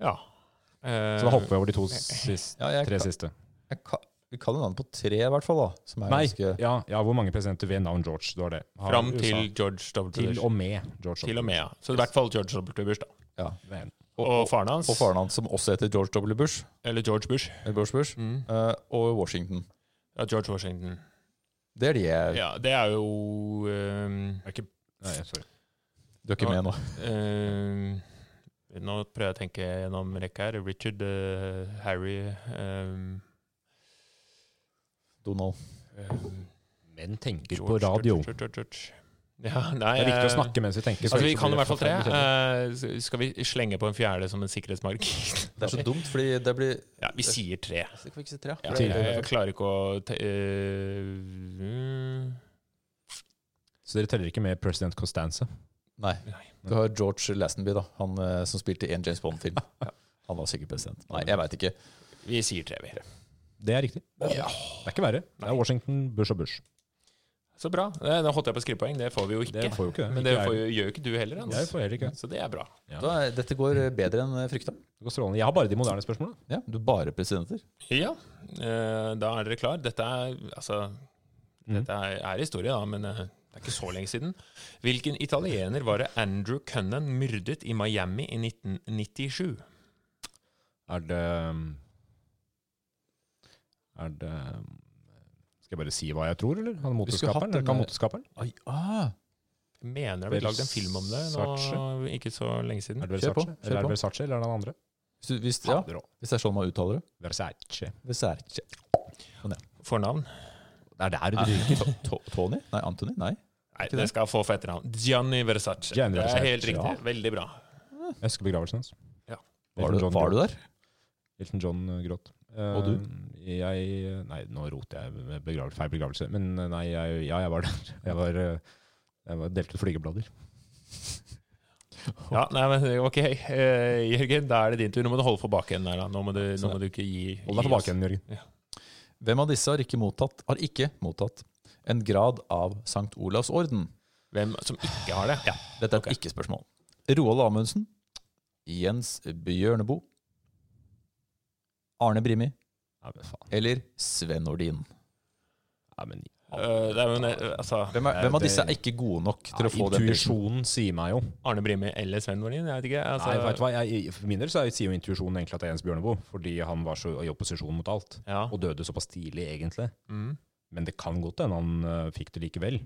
S1: Ja. Eh,
S3: Så da hopper vi over de to siste,
S2: Ja, jeg,
S3: tre
S2: kan,
S1: eh,
S3: siste.
S2: jeg, kan, Vi kan jo navnet på tre, i hvert fall. da Som er
S3: Nei,
S2: ganske
S3: ja, ja, hvor mange presidenter ved navn George? Det var det. Har
S1: Fram
S3: USA.
S1: til George W.
S3: Til
S1: Bush.
S3: og med George
S1: Til og med, ja. Så i hvert fall George W. Bush, da.
S2: ja.
S3: med.
S1: Og, faren hans.
S2: Og faren hans, som også heter George W. Bush.
S1: Eller George Bush. Mm.
S2: Eller Bush Bush eh, og Washington.
S1: Ja, George Washington.
S2: Det er de jeg
S1: Ja, det er jo ehm,
S3: Er ikke, nei, sorry.
S2: Du er ikke med nå.
S1: ehm, Nå prøver jeg å tenke gjennom rekka her. Richard, eh, Harry ehm,
S2: Donald.
S1: ehm,
S3: Menn tenker
S1: George,
S3: på
S1: George,
S3: radio.
S1: George, George, George. Ja, nei,
S3: Det er viktig å
S1: eh,
S3: snakke mens vi tenker. så
S1: Altså, vi
S3: ellers så
S1: kan i
S3: blir
S1: hvert
S3: det
S1: fall
S3: for
S1: tre.
S3: feil kjedelig.
S1: Eh, skal vi slenge på en fjerde som en sikkerhetsmark?
S2: Det er så dumt, fordi det blir
S1: ja, vi sier tre.
S2: Det kan vi ikke si tre.
S1: Ja,
S2: for det-
S1: jeg, jeg klarer ikke å te eh, mm,
S3: Så dere teller ikke med president Costanza?
S2: Nei.
S1: Nei.
S2: Du har George Lastenby, da. Han eh, som spilte i en James Bond-film. Han var sikkert president. Nei, jeg veit ikke.
S1: Vi sier tre, vi.
S3: Det er riktig.
S1: Ja.
S3: Det er ikke verre. Det er Washington, Bush og Bush.
S1: Så bra. Eh, Nå holdt jeg på skrivepoeng. Det får vi jo ikke.
S3: Det får jo ikke det.
S1: Men det
S3: Ikke
S1: får,
S3: jeg.
S1: jo- gjør jo ikke du heller, Hans.
S3: Jeg får heller ikke det.
S1: Så det er bra.
S2: Da, er- dette går eh, bedre enn eh, frykta.
S3: Det går strålende. Jeg har bare de moderne spørsmålene.
S2: Ja, du er bare presidenter.
S1: Ja, eh, da er dere klar. Dette er, altså,
S3: Mm.
S1: dette er, er historie, da, men eh, det er ikke så lenge siden. Hvilken italiener var det Andrew Cunnan myrdet i Miami i 1997?
S3: Er det Er det Skal jeg bare si hva jeg tror, eller? Han er
S2: Vi skulle hatt
S3: motorskaperen? Eller
S2: en- eh,
S3: kan motorskaperen?
S2: Oi, ah.
S1: Jeg mener det ble lagd en film om det nå,
S3: Versace?
S1: ikke så lenge
S3: Er
S1: siden.
S3: det
S2: Kjør på,
S3: Versace?
S2: kjør
S3: Eller er
S2: på.
S3: det Versace, eller er det han andre?
S2: hvis, du, hvis, ja,
S3: Fader òg.
S2: hvis det er sånn man uttaler det.
S3: Versace.
S2: Hvis det er ikke
S1: Fornavn?
S3: Det er der
S2: Nei,
S3: du ryker.
S2: To- To- Tony? Nei, Anthony? Nei.
S1: Nei,
S2: Ikke
S1: det
S2: det?
S1: skal jeg få for etternavn. Gianni Versace.
S3: Gianni
S1: Det
S3: Versace,
S1: er helt riktig.
S3: ja.
S1: Veldig bra.
S3: Jeg husker begravelsen hans.
S1: Ja.
S2: Var du, var du der?
S3: Hilton John eh, gråt. Eh,
S2: Og du?
S3: Jeg Nei, nå roter jeg med begravelse, feil begravelse. Men eh, nei, jeg, ja, jeg var der. Jeg var, eh, jeg var delte ut flygeblader.
S1: Ja, nei, men ok. Eh, Jørgen, da er det din tur. Nå må du holde for bakenden her. da. Nå må du, nå må du ikke gi gi
S3: Hold deg
S1: oss.
S3: tilbake igjen, Jørgen.
S2: Hvem av disse har ikke mottatt, har ikke mottatt en grad av Sankt Olavs orden?
S1: Hvem som ikke har det? Ja.
S2: Dette er et ikke-spørsmål. Roald Amundsen. Jens Bjørneboe. Arne Brimi.
S3: Nei, men faen.
S2: Eller Sven Nordin.
S3: Nei, men
S1: Eh, det er jo, ne- altså,
S2: Hvem, er,
S3: Eh,
S2: hvem av
S3: det-
S2: disse er ikke gode nok til å få den prisen?
S3: Intuisjonen sier meg jo
S1: Arne Brimi eller Sven Nordin? Jeg vet ikke. Altså,
S3: Nei, vet du hva? Jeg, For min del så er- sier jo intuisjonen egentlig at det er Jens Bjørneboe, fordi han var så i opposisjon mot alt,
S1: ja.
S3: og døde såpass tidlig, egentlig.
S1: mm.
S3: Men det kan godt hende han eh, fikk det likevel.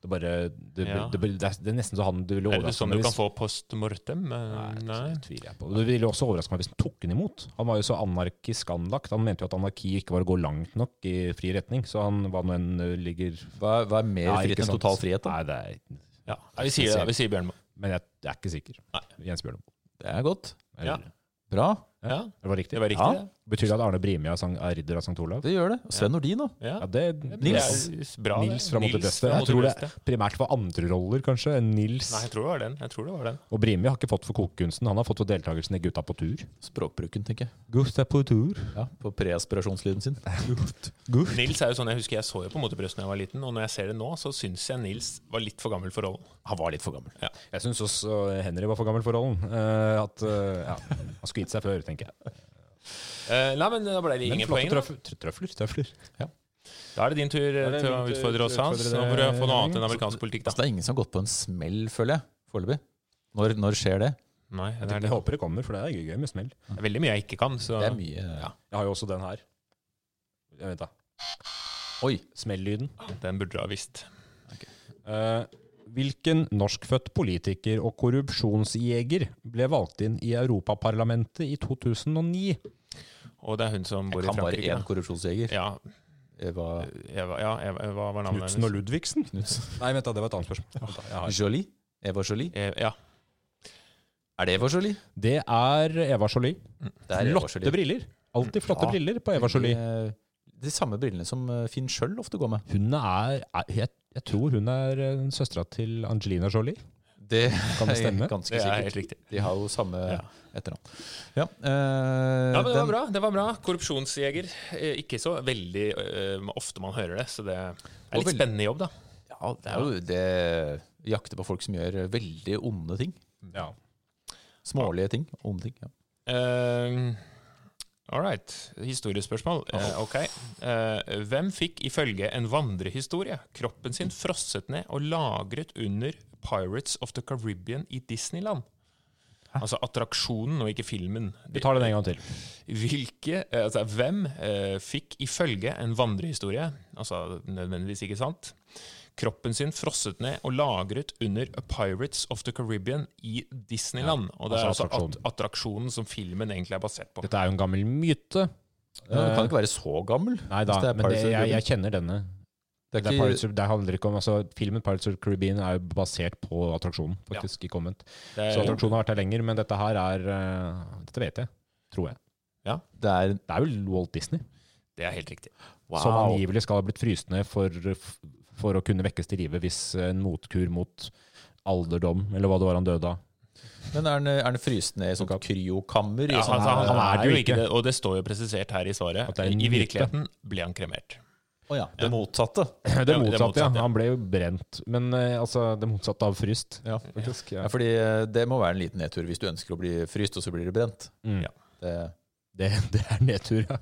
S3: Det, bare, det,
S1: Ja.
S3: det, det, det, er, det er nesten så han det ville
S1: Er det
S3: overraske
S1: sånn
S3: meg
S1: du kan
S3: hvis-
S1: få post mortem? Eh,
S3: Nei,
S1: Nei.
S3: det tviler jeg på. Det ville også overraske meg hvis han tok den imot. Han var jo så anarkisk anlagt. Han mente jo at anarki ikke var å gå langt nok i fri retning, så han hva nå enn eh, ligger
S2: Hva, er- hva er mer
S3: Nei,
S2: frihet
S3: ikke
S2: enn
S3: sant.
S2: total frihet? da?
S3: Nei, det er,
S1: Ja. Nei, vi sier det. Vi sier Bjørnmo.
S3: men jeg, jeg er ikke sikker.
S1: Nei.
S3: Jens Bjørneboe.
S2: Det er godt.
S1: Ja.
S3: Eller-
S2: Bra.
S1: Ja,
S3: Det var riktig.
S1: det var riktig.
S2: Ja.
S1: det.
S3: Betyr det at Arne Brimia er sang- er ridder av St. Olav?
S2: Det gjør det. Og Sven Nordin, da.
S1: Ja.
S3: Ja, det
S2: Nils.
S1: Det er bra, det.
S3: Nils fra Monte Beste.
S1: fra
S3: Jeg tror det
S1: Monte Beste.
S3: primært var andre roller, kanskje, enn Nils.
S1: Nei, jeg tror det var den. Jeg tror det var den.
S3: Og Brimia har ikke fått for kokekunsten, han har fått for deltakelsen i Gutta på tur.
S2: Språkbruken, tenker jeg.
S3: Gutta på tur?
S2: Ja, På preaspirasjonslyden sin.
S3: Gutt.
S1: Nils er jo sånn, jeg husker jeg så jo på Motebrøst da jeg var liten, og når jeg ser det nå, så syns jeg Nils var litt for gammel for rollen.
S3: Han var litt for gammel.
S1: Ja.
S3: Jeg syns også Henry var for gammel for rollen. Eh, at, eh, ja, han skulle gitt seg før, tenker jeg.
S1: Eh, nei, men da ble det ingen poeng. Da.
S3: trøf- tr- trøfler. trøfler.
S1: da er det din tur eh,
S3: det
S1: til å
S3: min tur
S1: utfordre oss,
S3: til å
S1: Hans.
S3: utfordre
S1: Nå
S3: deg,
S1: får du få noe
S3: Jørgen.
S1: annet enn amerikansk politikk, da.
S2: Altså, det er ingen som har gått på en smell, føler jeg. Foreløpig. Når, når skjer det?
S1: Nei,
S3: Jeg,
S1: det er,
S3: tenker, jeg håper det kommer, for det er gøy, gøy med smell.
S1: det er veldig mye jeg ikke kan, så
S2: Det er mye
S1: Ja.
S3: Jeg har jo også den her. Jeg vet da.
S2: Oi.
S3: Smell-lyden.
S1: den burde du ha visst.
S3: Eh, hvilken norskfødt politiker og korrupsjonsjeger ble valgt inn i Europaparlamentet i 2009?
S1: Og det er hun som bor i
S2: Jeg kan bare
S1: Frankrike.
S2: én
S1: da.
S2: korrupsjonsjeger.
S1: Ja,
S2: Eva
S1: Eva, ja, Eva, Eva, hva var navnet
S3: Knutsen og
S1: hennes?
S3: Ludvigsen?
S2: Knudsen.
S3: Nei, vent da, det var et annet spørsmål. Vent da, jeg har-
S2: Jolie? Eva Jolie?
S1: Eh, Ja,
S2: Er det Eva Jolie?
S3: Det er Eva Jolie.
S2: Det er Eva
S3: Flotte
S2: Jolie.
S3: briller. Alltid flotte
S2: Ja.
S3: briller på Eva Jolie.
S2: De, de samme brillene som eh, Finn sjøl ofte går med.
S3: Hun er, er jeg, jeg tror hun er eh, søstera til Angelina Jolie.
S2: Det
S3: Kan det stemme?
S2: er ganske
S1: det er
S2: sikkert.
S1: helt riktig.
S2: De har jo samme
S1: Ja.
S2: etternavn. Ja, eh,
S1: Ja, men det var
S2: den-
S1: bra. det var bra. Korrupsjonsjeger. Eh, Ikke så veldig eh, ofte man hører det, så det er
S2: Og
S1: litt
S2: veldig-
S1: spennende jobb, da.
S2: Ja, det er jo det Jakte på folk som gjør veldig onde ting.
S3: Ja.
S2: Smålige ting. Onde ting. Ja.
S1: Eh, All right. Historiespørsmål. Eh, ok. Eh, hvem fikk ifølge en vandrehistorie kroppen sin frosset ned og lagret under Pirates of the Caribbean i Disneyland? Altså attraksjonen og ikke filmen.
S3: Vi tar den en gang til.
S1: Hvilke, eh, altså, hvem eh, fikk ifølge en vandrehistorie, altså nødvendigvis ikke sant, kroppen sin frosset ned og lagret under A Pirates of the Caribbean i Disneyland? og det
S3: altså
S1: er altså at, attraksjonen som filmen egentlig er basert på.
S3: Dette er jo en gammel myte.
S2: Men
S3: Eh,
S2: den kan ikke være så gammel.
S3: Nei da,
S2: hvis det er
S3: men det,
S2: Pirates of the
S3: jeg,
S2: Caribbean.
S3: jeg kjenner denne.
S2: Det
S3: Det,
S2: er
S3: er Pirates,
S2: ikke,
S3: of- det handler ikke om, altså Filmen Pirates of the Caribbean er jo basert på attraksjonen, faktisk, ikke omvendt.
S1: Det
S2: Eh,
S3: Så
S1: er,
S3: attraksjonen har vært der lenger, men dette her er eh, Dette vet jeg, tror jeg.
S2: det er,
S3: Det er jo Walt Disney,
S1: det er helt riktig.
S3: som
S2: Wow.
S3: angivelig skal ha blitt fryst ned for, for å kunne vekkes til live hvis eh, en motkur mot alderdom, eller hva det var han døde av.
S2: men er den, er den fryst ned i sånt kryokammer?
S1: Ja, altså,
S2: i sånn
S1: han, han,
S3: han
S1: er jo ikke det, og det står jo presisert her i svaret.
S3: At det er en
S1: I
S3: myte.
S1: virkeligheten ble han kremert.
S2: Å ja, det motsatte.
S3: Det
S1: det
S3: motsatte, ja.
S1: motsatte, ja.
S3: Han ble jo brent. Men eh, altså, det motsatte av fryst.
S2: Ja.
S3: Faktisk,
S2: Ja, fordi eh, det må være en liten nedtur hvis du ønsker å bli fryst, og så blir det brent.
S3: Mm.
S1: Ja.
S2: Det,
S3: Det, det er nedtur, ja.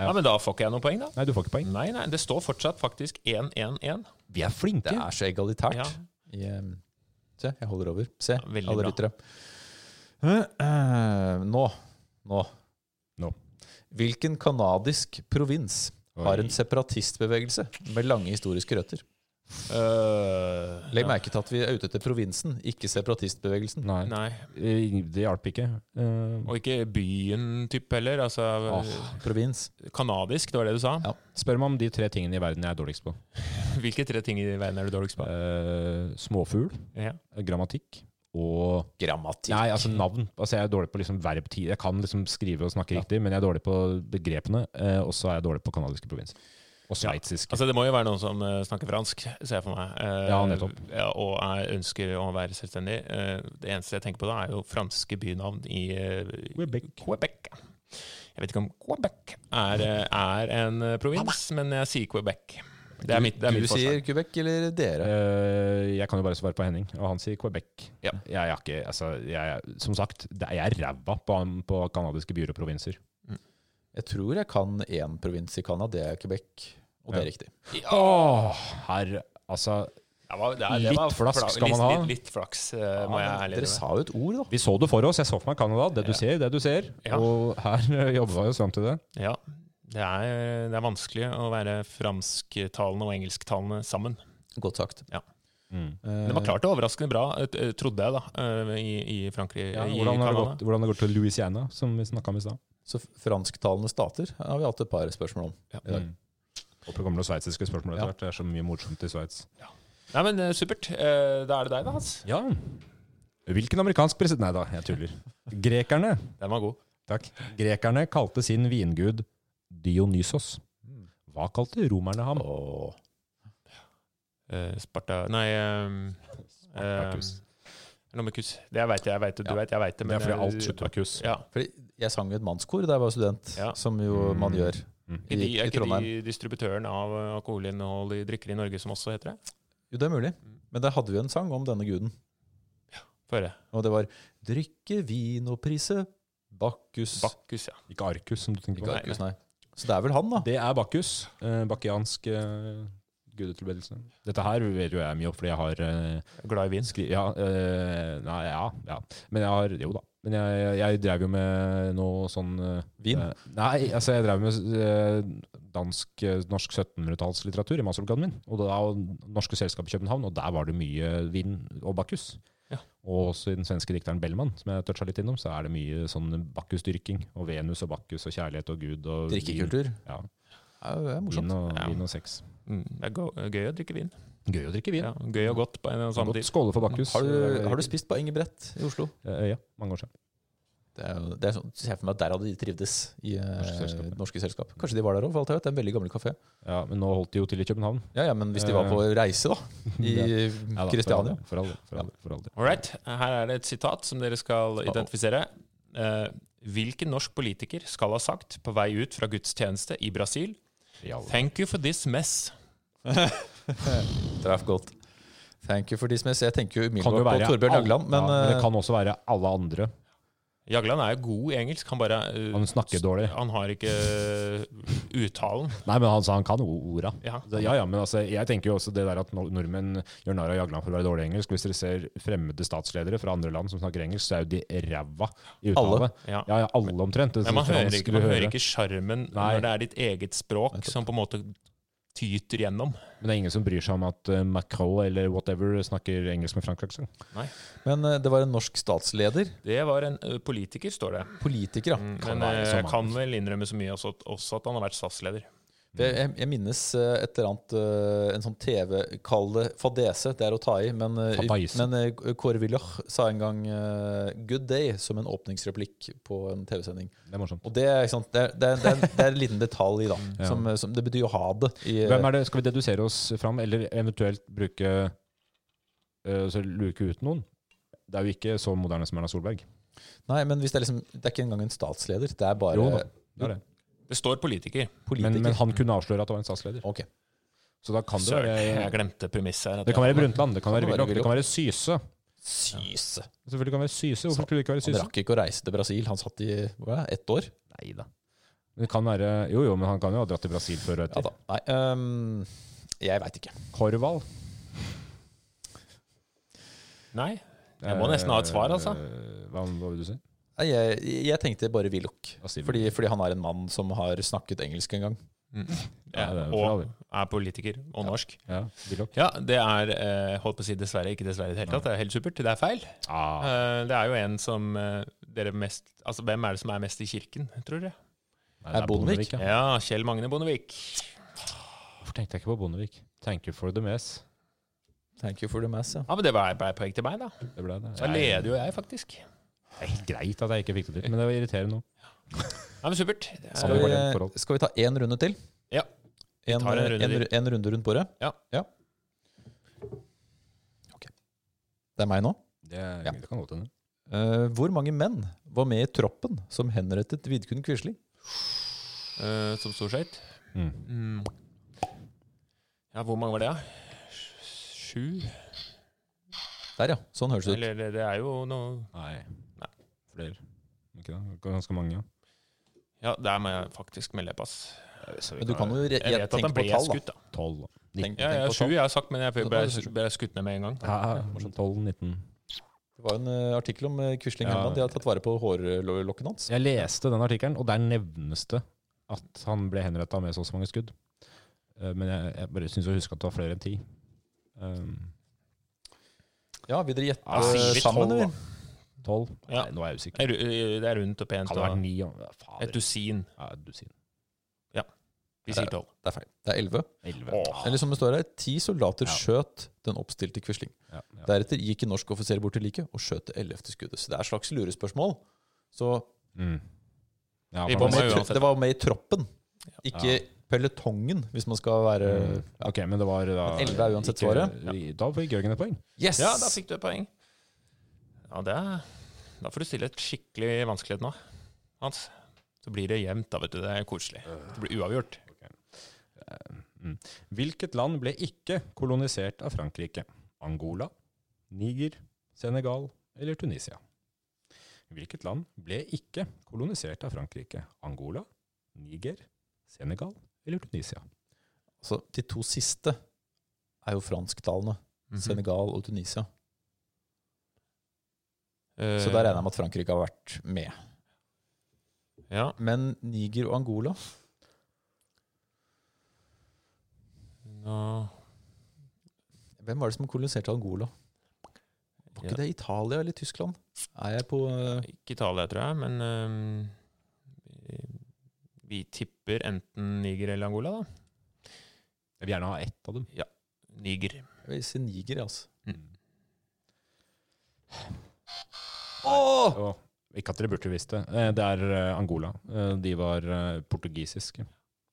S1: Ja. men da får ikke jeg noe poeng, da.
S3: Nei, du får ikke poeng.
S1: Nei, nei, det står fortsatt faktisk 1-1-1.
S3: Vi er flinke.
S2: det er så egalitært.
S1: Ja.
S2: I, eh, se, jeg holder over. Se,
S1: veldig
S2: alle
S1: bra.
S2: lyttere. Eh, eh, Nå. Nå.
S3: Nå.
S2: Hvilken kanadisk provins har en separatistbevegelse med lange historiske røtter?
S1: Øh,
S2: Legg merke til at vi er ute etter provinsen, ikke separatistbevegelsen.
S3: Nei.
S1: Nei.
S3: Eh, Det hjalp ikke. Eh,
S1: Og ikke byen typ heller. Altså
S3: Åh.
S2: Eh, Provins.
S1: kanadisk, det var det du sa.
S2: Ja.
S3: Spør meg om de tre tingene i verden jeg er dårligst på.
S1: Hvilke tre ting i verden er du dårligst på?
S3: Eh, småfugl,
S1: Ja.
S3: grammatikk og
S2: Grammatikk.
S3: Nei, altså navn. Altså Jeg er dårlig på liksom verbtid. Jeg kan liksom skrive og snakke riktig, men jeg er dårlig på begrepene. eh, og så er jeg dårlig på kanadiske provinser. Og sveitsiske.
S1: Altså Det må jo være noen som eh, snakker fransk, ser jeg for meg. Eh,
S3: Ja, nettopp.
S1: ja, og jeg ønsker å være selvstendig. Eh, det eneste jeg tenker på da, er jo franske bynavn i eh,
S3: Quebec.
S1: Quebec. Jeg vet ikke om Quebec er, eh, er en eh, provins, men jeg sier Quebec. Det er mitt, det er
S2: Du
S1: mitt
S2: sier
S1: forslag.
S2: Quebec eller dere?
S3: Eh, jeg kan jo bare svare på Henning, og han sier Quebec.
S1: Ja.
S3: Jeg, er ikke, altså, jeg, er- som sagt, det er- jeg er ræva på, på kanadiske byer og provinser.
S2: Jeg tror jeg kan én provins i Canada, det er Quebec. Og det er riktig.
S3: Åh, her, altså
S1: Det var- det er- det
S3: Litt
S1: var
S3: flask skal man
S1: litt-
S3: ha.
S1: Litt, litt flaks, eh, må jeg
S2: Ja, men
S1: ærlig
S2: Dere
S1: innrømme.
S2: sa jo et ord, da.
S3: Vi så det for oss. Jeg så for meg Canada. Det du ser, det du ser.
S1: Ja.
S3: Og her eh, jobba vi oss fram til det.
S1: Ja, det er, det er vanskelig å være fransktalende og engelsktalende sammen.
S2: Godt sagt.
S1: Det
S3: Eh.
S1: var klart det overraskende bra, eh, t- eh, trodde jeg, da, eh, i, i Frankrike.
S3: Ja,
S1: i
S3: hvordan, har det
S1: Canada.
S3: gått, hvordan har det gått til Louisiana, som vi snakka om i stad?
S2: Så f- fransktalende stater har vi hatt et par spørsmål om. i dag.
S3: Håper det kommer noen sveitsiske spørsmål etter
S2: Ja.
S3: hvert. Det er så mye morsomt i Sveits.
S1: Nei, men eh, supert. Eh, Da er det deg, da, Hans.
S3: Ja. Hvilken amerikansk president Nei da, jeg tuller. Grekerne
S1: Den var god.
S3: Takk. Grekerne kalte sin vingud Dionysos. Hva kalte romerne ham?
S2: Åh.
S1: Eh, Sparta Nei ehm,
S3: Spartacus.
S1: ehm, Lommekus. Det jeg veit jeg, veit det. Du veit jeg veit det.
S3: Det er fordi alt
S1: slutter.
S3: slutta kuss.
S1: Ja.
S2: Fordi jeg sang jo et mannskor da jeg var student,
S1: Ja. Mm.
S2: som jo man gjør
S1: Er
S2: i,
S1: de- er
S2: i
S1: ikke
S2: Trondheim.
S1: de distributøren av eh, alkoholinnholdige drikker i Norge som også heter det?
S2: Jo, det er mulig.
S1: Mm.
S2: Men der hadde vi en sang om denne guden.
S1: Få høre.
S2: Og det var 'Drikke vin og prise Bakkus'.
S1: Bakkus, ja.
S3: Ikke Arkus, som du tenker
S2: Ikke
S3: på.
S1: Nei,
S2: Arkus, nei. Så det er vel han, da.
S3: Det er Bakkus. Eh, bakiansk eh, gudetilbedelse. Dette her vet jo jeg mye om, fordi jeg har eh,
S1: Glad i vin.
S3: Skri ja, eh, nei, ja, ja. Men jeg har Jo da. Men jeg, jeg, jeg drev jo med noe sånn eh,
S2: Vin?
S3: eh, nei, altså jeg drev med eh, dansk, eh, norsk 1700-tallslitteratur i masteroppgaven min. Og da norske selskap i København, og der var det mye vin og Bakkus.
S1: Ja.
S3: Og også i den svenske dikteren Bellman, som jeg toucha litt innom, så er det mye sånn Bakkus-dyrking. Og Venus og Bakkus og kjærlighet og Gud og
S2: Drikkekultur.
S3: Vin, ja,
S2: Ja, det er morsomt.
S3: vin, og,
S1: Ja.
S3: vin og sex.
S1: Mm, Det er go- gøy å drikke vin.
S3: Gøy å drikke vin.
S1: Ja, gøy og godt på en og samme
S3: Godt
S1: tid.
S3: Skåle for Bakkus.
S2: Har du, har du spist på Engebrett i Oslo?
S3: Eh, Ja, mange år siden.
S2: Det er, jo- det er sånn, ser jeg for meg at der hadde de trivdes i eh,
S3: Norske selskap, ja.
S2: norske selskap. Kanskje de var der òg, for alt jeg vet. Det er en veldig gammel kafé.
S3: Ja, men nå holdt de jo til i København.
S2: Ja, ja, men hvis de var på reise, da, i
S3: Eh, Ja da,
S2: Kristiania
S3: For all del. For all del, for all del.
S1: All right. Her er det et sitat som dere skal identifisere. Eh, hvilken norsk politiker skal ha sagt på vei ut fra gudstjeneste i Brasil Thank you for this mess.
S2: Traff godt. Thank you for this mess. Jeg tenker jo
S3: Kan jo
S2: umiddelbart på
S3: være
S2: Torbjørn
S3: all-
S2: Jagland, men,
S3: ja, men det
S2: eh,
S3: kan også være alle andre.
S1: Jagland er jo god i engelsk. Han bare eh,
S3: Han snakker dårlig.
S1: Han har ikke eh, uttalen.
S3: Nei, men han sa han kan o- orda.
S1: Ja.
S3: Så Ja, ja, men altså, jeg tenker jo også det der at nor- nordmenn gjør narr av Jagland for å være dårlig i engelsk. Hvis dere ser fremmede statsledere fra andre land som snakker engelsk, så er jo de ræva i uttale.
S2: Alle?
S1: Ja.
S3: Ja, ja, alle omtrent. Det
S1: Men man
S3: synes jeg
S1: hører
S3: vanskelig
S1: ikke, man
S3: å
S1: hører ikke
S3: høre.
S1: sjarmen
S3: Nei.
S1: når det er ditt eget språk som på en måte tyter gjennom.
S3: Men det er ingen som bryr seg om at eh, Macron eller whatever snakker engelsk med fransk aksent.
S2: Men eh, det var en norsk statsleder.
S1: Det var en ø, politiker, står det.
S2: Politiker, ja.
S1: Mm,
S3: Kan
S1: Men
S3: være
S1: eh,
S3: så
S1: jeg
S3: mange.
S1: kan vel innrømme så mye også, også at han har vært SAS-leder.
S2: For Jeg, jeg- jeg minnes eh, et eller annet eh, En sånn TV Kall det fadese, det er å ta i. Men, eh,
S3: Fadaise.
S2: men eh, Kåre Willoch sa en gang eh, 'good day' som en åpningsreplikk på en TV-sending.
S3: Det er morsomt.
S2: Og det, er, ikke sant, det, er, det, er, det, er, det er en liten detalj, da. Som, eh, som, det betyr jo 'ha det'. I, eh,
S3: Hvem er det? Skal vi dedusere oss fram, eller eventuelt bruke eh, så luke ut noen? Det er jo ikke så moderne som Erna Solberg.
S2: Nei, men hvis det, er liksom, det er ikke engang en statsleder. Det er bare
S3: Jo da, det er det.
S1: Det står politiker.
S2: politiker.
S3: Men, men han kunne avsløre at det var en statsleder.
S2: Ok.
S3: Så da kan det
S1: Søren, jeg
S3: være
S1: glemte premisset her. at
S3: Det kan
S1: jeg-
S3: være Brundtland, det kan være
S2: Kan det være
S3: Willoch, det
S2: Willoch?
S3: kan være Syse.
S2: Syse.
S3: Selvfølgelig kan det være Syse.
S2: Så-
S3: Hvorfor skulle det ikke være
S2: Han
S3: Syse?
S2: rakk ikke å reise til Brasil. Han satt i hva, er det, ett år.
S3: Neida. Men Det kan være, jo, jo, men han kan jo ha dratt til Brasil før og
S2: Ja
S3: etter.
S2: da. Nei, øhm, jeg veit ikke.
S3: Korvald.
S1: Nei. Jeg må nesten ha et svar, altså.
S3: Eh, Hva, hva vil du si?
S2: Nei, Jeg, jeg tenkte bare Willoch.
S3: Da sier vi-
S2: Fordi, fordi han er en mann som har snakket engelsk en gang.
S1: Mm. Ja,
S3: Ja, det er jo for all
S1: og
S3: del.
S1: er politiker. Og norsk.
S3: Ja, Willoch.
S1: Ja, det er eh, holdt på å si dessverre ikke dessverre i det hele tatt. Det er helt supert. Det er feil.
S3: Ah,
S1: Eh, det er jo en som eh, dere mest Altså, hvem er det som er mest i kirken, tror dere?
S3: nei, det
S2: Er Bondevik?
S3: ja.
S1: Ja, Kjell Magne Bondevik.
S3: Hvorfor tenkte jeg ikke på Bondevik? Thank you for the mess.
S2: Thank you for the mass, ja.
S1: Ja, men det var ble poeng til meg, da.
S3: Det ble det.
S1: Så leder jo jeg, faktisk.
S3: Det er helt greit at jeg ikke fikk det til, men det var irriterende nå.
S1: Ja, men supert. Det er,
S3: Sånn
S2: Skal
S3: var det forhold.
S2: vi, skal vi ta én runde til?
S1: Ja. Vi
S2: En, eh,
S1: tar en runde
S2: en,
S1: til.
S2: ru- en runde rundt bordet?
S1: Ja.
S2: Ok. Det er meg nå.
S3: Det,
S2: Ja.
S3: det kan godt hende.
S2: Eh, hvor mange menn var med i troppen som henrettet Vidkun Quisling?
S1: eh, som storskøyt.
S3: Mm.
S1: Mm. Ja, hvor mange var det, da? Sju?
S2: Der, ja. Sånn høres det ut.
S1: Eller det, det er jo noe
S3: Nei.
S1: Nei.
S3: Flere. Ikke det? Ganske mange, ja.
S1: Ja, der må jeg faktisk melde pass.
S2: Men du kan jo re
S1: Jeg vet at
S2: tenke
S1: han
S2: på
S1: ble
S2: tall, da.
S1: skutt, da.
S3: Tolv.
S2: Tenk,
S1: Ja,
S2: tenk
S1: ja,
S2: på
S1: sju
S2: tall.
S1: jeg har sagt, men jeg ble,
S2: Så
S1: ble,
S2: da er det-
S1: ble skutt ned med en gang.
S3: Ja, 12, 19.
S2: Det var en eh, artikkel om eh, Quisling
S3: Ja.
S2: Herman. De har tatt vare på hårlokken hans.
S3: Jeg leste den artikkelen, og der nevnes det at han ble henretta med så og så mange skudd. Eh, Men jeg, jeg bare syns å huske at det var flere enn ti. Um,
S2: Ja, vil dere gjette
S1: Ja, sier vi
S2: eh, sammen,
S1: tolv,
S2: eller?
S3: Tolv?
S1: Ja.
S3: Nei, nå er jeg usikker.
S1: Det er ru- det er rundt og pent.
S3: Kan det være
S1: Og
S3: ni? ja, fader.
S1: et dusin.
S3: Ja, et dusin.
S1: Vi sier tolv.
S2: Det er feil. Det er elleve.
S3: Elleve.
S2: Eller som det står her, ti soldater
S3: Ja.
S2: skjøt den oppstilte Quisling.
S3: Ja, ja.
S2: Deretter gikk en norsk offiser bort til liket og skjøt det ellevte skuddet. Så det er et slags lurespørsmål. Så
S3: Mm. Ja,
S1: Vi
S2: det var
S3: kan
S1: bommer
S3: man-
S2: med, i tro-
S1: uansett.
S2: det var med i troppen, ikke
S3: Ja.
S2: pelotongen, hvis man skal være
S3: Mm. Ok, men det var da
S2: Men 11 er uansett
S3: ikke-
S2: svaret.
S3: vi- Da fikk Jørgen et poeng.
S2: Yes!
S1: Ja, da fikk du et poeng. Ja, det er Da får du stille et skikkelig vanskelighet nå, Hans. Så blir det jevnt, da, vet du. Det er koselig. Det blir uavgjort.
S3: Mm. Hvilket land ble ikke kolonisert av Frankrike? Angola, Niger, Senegal eller Tunisia? Hvilket land ble ikke kolonisert av Frankrike? Angola, Niger, Senegal eller Tunisia?
S2: Så de to siste er jo fransktalende.
S1: Mhm.
S2: Senegal og Tunisia. Så
S1: Eh.
S2: der regner jeg med at Frankrike har vært med.
S1: Ja.
S2: Men Niger og Angola
S1: Nå
S2: Hvem var det som koloniserte Angola? Var ikke
S1: Ja.
S2: det Italia eller Tyskland? Er jeg på eh,
S1: Ikke Italia, tror jeg, men øhm, vi- vi tipper enten Niger eller Angola, da.
S3: Jeg vil gjerne ha ett av dem.
S1: Niger.
S2: Jeg vil si Niger, jeg, altså.
S3: Åh! Ikke at dere burde visst det. Eh, Det er eh, Angola. Eh, De var eh, portugisiske.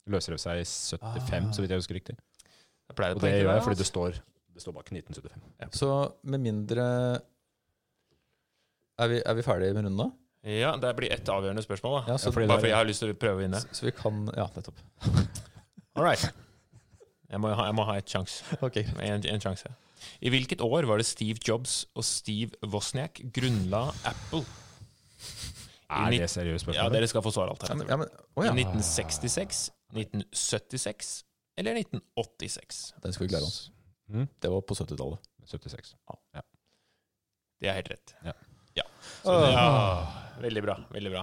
S3: Løsrev seg i 75,
S2: Ah.
S3: så vidt jeg husker riktig.
S1: Jeg pleier
S3: Og
S1: å
S3: det
S1: tenke
S3: gjør jeg
S1: det,
S3: fordi det
S1: altså.
S3: står, det står bak 1975.
S2: Så med mindre Er vi, er vi ferdige med runden da?
S1: Ja, det blir ett avgjørende spørsmål, da.
S2: Ja, så,
S3: Ja, fordi det
S1: Bare
S3: er-
S1: fordi jeg har lyst til å prøve å vinne.
S2: så vi kan Ja, nettopp.
S1: All right. Jeg må ha, jeg må ha et sjans.
S2: Ok.
S1: En, en sjanse. I hvilket år var det Steve Jobs og Steve Wozniak grunnla Apple?
S3: Er det
S1: Ja,
S3: seriøst spørsmål?
S1: dere skal få
S2: Ja, men,
S1: svaralternativer.
S2: ja, men, å ja.
S1: I 1966, 1976 eller 1986?
S2: Den skal vi klare oss.
S3: Mm.
S2: Det var på 70-tallet.
S3: 76.
S1: Det er helt rett.
S3: Ja.
S1: Så, ja. Veldig bra. Veldig bra.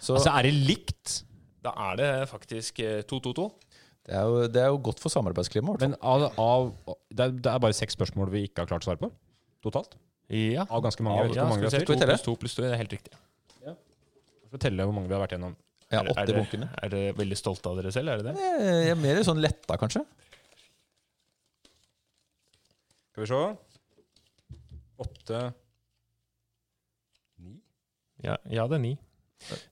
S2: Så
S3: Altså, er det likt?
S1: Da er det faktisk eh, 222.
S2: det, er jo, det er jo godt for samarbeidsklimaet vårt.
S3: Men av, av det, er, det er bare seks spørsmål vi ikke har klart å svare på? Totalt?
S1: Ja.
S3: Av ganske mange? Jeg vet ikke hvor mange vi har
S2: Skal vi
S1: to
S2: telle?
S1: pluss to pluss to, det er helt riktig.
S3: Vi får telle hvor mange vi har vært gjennom.
S2: Jeg har
S1: Er
S2: åtte i
S1: dere-
S2: bunkene.
S1: Er dere veldig stolte av dere selv? Er det det?
S2: Jeg jeg er mer sånn letta, kanskje.
S3: Skal vi se Åtte Ni?
S1: Ja, ja det er ni.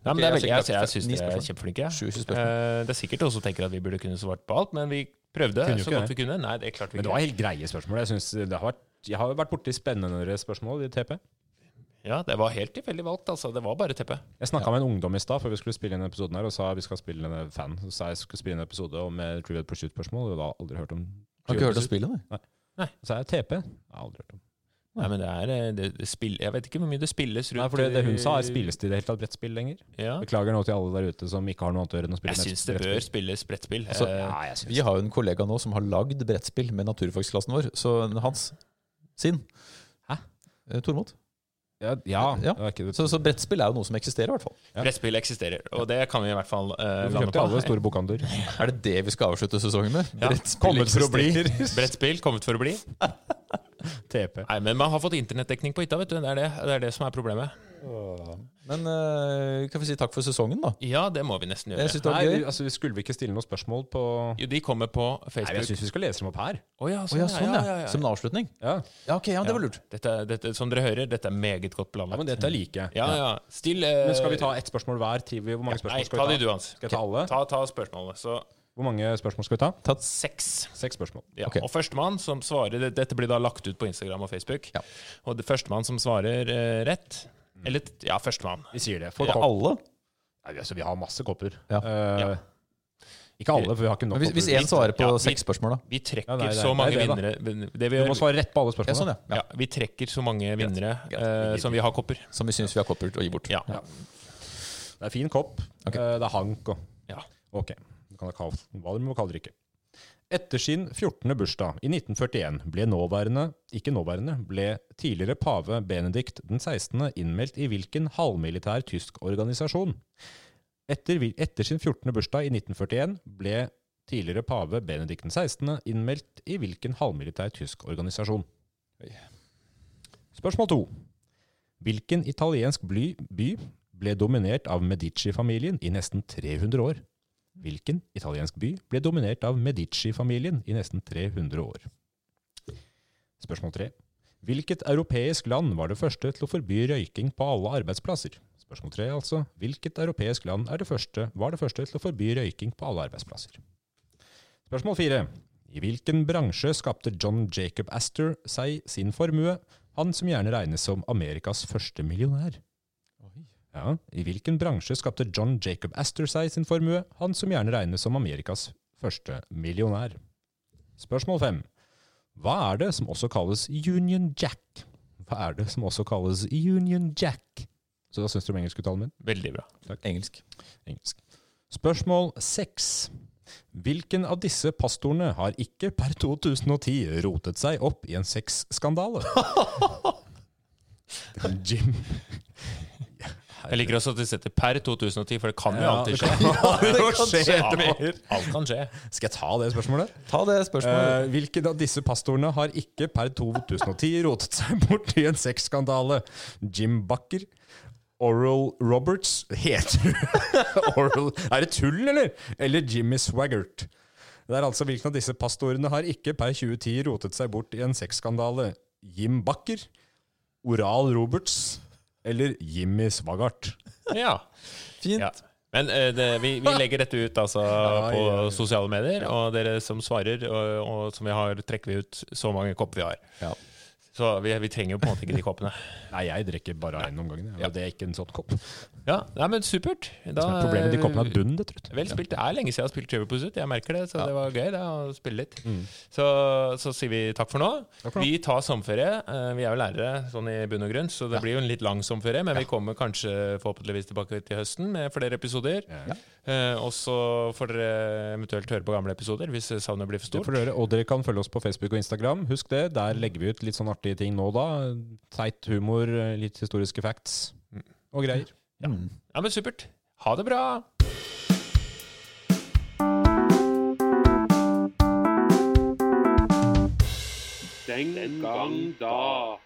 S1: Nei, men
S2: Ok,
S1: det er
S2: jeg
S1: veldig,
S2: har
S1: jeg,
S2: sikkert
S1: jeg
S2: ni
S1: syns dere er
S2: spørsmål.
S1: kjempeflinke. jeg.
S2: 27 spørsmål.
S1: Eh, det er sikkert også tenker at vi burde kunne svart på alt, men vi prøvde
S3: Kunne jo
S1: så
S3: ikke
S1: godt vi
S3: det.
S1: kunne. Nei, det klarte vi
S3: Men det
S1: ikke.
S3: var helt greie spørsmål. Jeg, synes det har vært, jeg har jo vært borti spennende spørsmål i TP.
S1: Ja, det var helt tilfeldig valgt, altså. Det var bare teppet.
S3: Jeg snakka med en ungdom i stad før vi skulle spille inn episoden her, og sa vi skal spille inn en fan. Så sa jeg skulle spille inn en episode om eh, Trivial Pursuit-spørsmål, og da har aldri hørt om
S2: Har ikke hørt om
S3: Pursuit.
S2: spillet, nei.
S3: Så sa jeg TP. Jeg har aldri hørt om.
S1: Nei, men det er eh, det, det spill, Jeg vet ikke hvor mye det spilles rundt
S3: Nei, for det, det hun sa, er spilles det i det hele tatt brettspill lenger?
S1: Ja.
S3: Beklager nå til alle der ute som ikke har noe annet å gjøre enn å spille
S1: Jeg syns det bør spilles brettspill.
S2: Altså,
S1: Eh,
S3: Ja, jeg
S2: Vi
S3: synes det.
S2: har jo en kollega nå som har lagd brettspill med naturfagsklassen vår, så hans sin.
S3: Hæ?
S2: Eh, Tormod.
S3: Ja, ja,
S2: Ja.
S3: det er ikke-
S2: Så, så brettspill er jo noe som eksisterer, i hvert fall.
S3: Ja.
S1: Brettspill eksisterer, og det kan vi i hvert fall eh,
S3: Hvorfor
S1: lande
S3: kjøpte alle
S1: på.
S3: store bokhandler.
S2: Er det det vi skal avslutte sesongen med?
S1: Ja.
S2: Brettspill eksisterer.
S1: Brettspill kommet for å bli.
S3: TP.
S1: Nei, men man har fått internettdekning på hytta, vet du. Det er det, det er det som er problemet.
S2: Men eh, kan vi si takk for sesongen, da?
S1: Ja, det må vi nesten
S2: Jeg
S1: gjøre.
S2: syns det var
S3: Nei, vi,
S2: gøy.
S3: altså, vi skulle vi ikke stille noen spørsmål på
S1: Jo, de kommer på
S3: Nei, jeg
S1: Facebook.
S3: syns vi skal lese dem opp her.
S1: Å ja,
S2: Å
S1: sånn,
S2: ja, sånn,
S1: ja, ja,
S2: ja.
S1: ja,
S2: Som en avslutning?
S3: Ja,
S2: Ja, ok, ja, det var lurt.
S1: Dette, dette, som dere hører, dette er meget godt
S3: ja
S1: planlagt.
S3: men dette liker jeg.
S1: ja, ja. Still eh,
S3: Men skal vi ta ett spørsmål hver? Trivi, hvor mange
S1: Nei,
S3: spørsmål
S1: ta
S3: skal
S1: de
S3: vi ta?
S1: du, Hans.
S3: Skal jeg ta alle?
S1: Ta, ta spørsmålene. Så
S3: Hvor mange spørsmål skal vi ta?
S2: Tatt
S1: seks.
S3: Seks spørsmål.
S1: Ja.
S2: Ok.
S1: Og førstemann som svarer det- Dette blir da lagt ut på Instagram og Facebook.
S2: Ja.
S1: Og det førstemann som svarer eh, rett
S3: Mm.
S1: Eller t- ja, førstemann.
S3: Vi sier det.
S2: på alle.
S3: Nei, altså, vi har masse kopper.
S2: Ja.
S3: Eh,
S1: Ja.
S3: Ikke alle, for vi har ikke nok
S2: Men hvis, hvis
S3: kopper.
S2: en svarer på
S1: Ja, vi-
S2: seks spørsmål, da?
S1: Vi trekker
S3: Ja, nei, det er-
S1: så mange
S3: det er det,
S1: vinnere det vi,
S3: Du må
S1: gjør,
S3: svare rett på alle
S2: Ja,
S3: spørsmålene.
S2: sånn, ja.
S1: ja, vi trekker så mange vinnere eh, som vi har kopper.
S2: ja. Som vi syns vi har koppert og gir bort.
S1: Ja.
S3: Det er fin kopp.
S2: Ok.
S3: Eh, Det er hank og
S1: Ja.
S3: Ok. Du kan ha kald, hva du må kalle drikke. Etter sin 14. bursdag i 1941 ble nåværende, ikke nåværende, ble tidligere pave Benedikt den 16. innmeldt i hvilken halvmilitær tysk organisasjon? Etter, hvil- etter sin 14. bursdag i 1941 ble tidligere pave Benedikt den 16. innmeldt i hvilken halvmilitær tysk organisasjon?
S2: Oi.
S3: Spørsmål to. Hvilken italiensk bly, by ble dominert av Medici-familien i nesten 300 år? Hvilken italiensk by ble dominert av Medici-familien i nesten 300 år? Spørsmål 3. Hvilket europeisk land var det første til å forby røyking på alle arbeidsplasser? Spørsmål 3 altså. Hvilket europeisk land er det første, var det første til å forby røyking på alle arbeidsplasser? Spørsmål 4. I hvilken bransje skapte John Jacob Astor seg sin formue, han som gjerne regnes som Amerikas første millionær? Ja, I hvilken bransje skapte John Jacob Astor seg sin formue, han som gjerne regnes som Amerikas første millionær? Spørsmål fem. Hva er det som også kalles Union Jack? Hva er det som også kalles Union Jack? Så hva syns du om engelskuttalen min?
S1: Veldig bra.
S2: Engelsk.
S3: Engelsk. Spørsmål seks. Hvilken av disse pastorene har ikke per 2010 rotet seg opp i en sexskandale? Jim
S1: Jeg liker også at de setter per 2010, for det kan jo
S3: Ja,
S1: alltid
S3: det
S1: skje.
S3: kan-
S1: alt, alt kan skje.
S3: Skal jeg ta det spørsmålet?
S2: Ta det spørsmålet.
S3: Eh, hvilken av disse pastorene har ikke per 2010 rotet seg bort i en sexskandale? Jim Bucker? Oral Roberts? Heter du Oral Er det tull, eller? Eller Jimmy Swaggart? Det er altså hvilken av disse pastorene har ikke per 2010 rotet seg bort i en sexskandale? Jim Bucker? Oral Roberts? Eller Jimmy Swaggart?
S1: Ja.
S2: Fint.
S1: Ja. Men eh, det, vi, vi legger dette ut altså, på
S3: ja, ja.
S1: sosiale medier, og dere som svarer, og, og som vi har, trekker vi ut så mange kopper vi har.
S2: Ja.
S1: Så vi, vi trenger jo på en måte ikke de koppene.
S3: Nei, jeg drikker bare én om gangen. jeg. Og det er ikke en sånn kopp. Det
S1: Ja, nei, men supert. Da,
S3: som er problemet med de koppene er dunn, det tror jeg.
S1: Vel spilt. Det er lenge siden jeg har spilt Trevor Pussut. Jeg merker det, så det var gøy det, å spille litt.
S3: Mm.
S1: Så, så sier vi takk for nå.
S3: for nå.
S1: Vi tar sommerferie. Eh, Vi er jo lærere sånn i bunn og grunn, så det blir jo en litt lang sommerferie. Men vi kommer kanskje forhåpentligvis tilbake til høsten med flere episoder.
S3: Ja.
S1: Eh, Og så får dere eventuelt høre på gamle episoder hvis savnet blir for
S3: Det
S1: stort.
S3: får dere, og dere kan følge oss på Facebook og Instagram. Husk det, der legger vi ut litt sånn artige ting nå og da. Teit humor, litt historiske facts og greier.
S2: Mm.
S1: Ja, men supert. Ha det bra!
S4: Den gang da.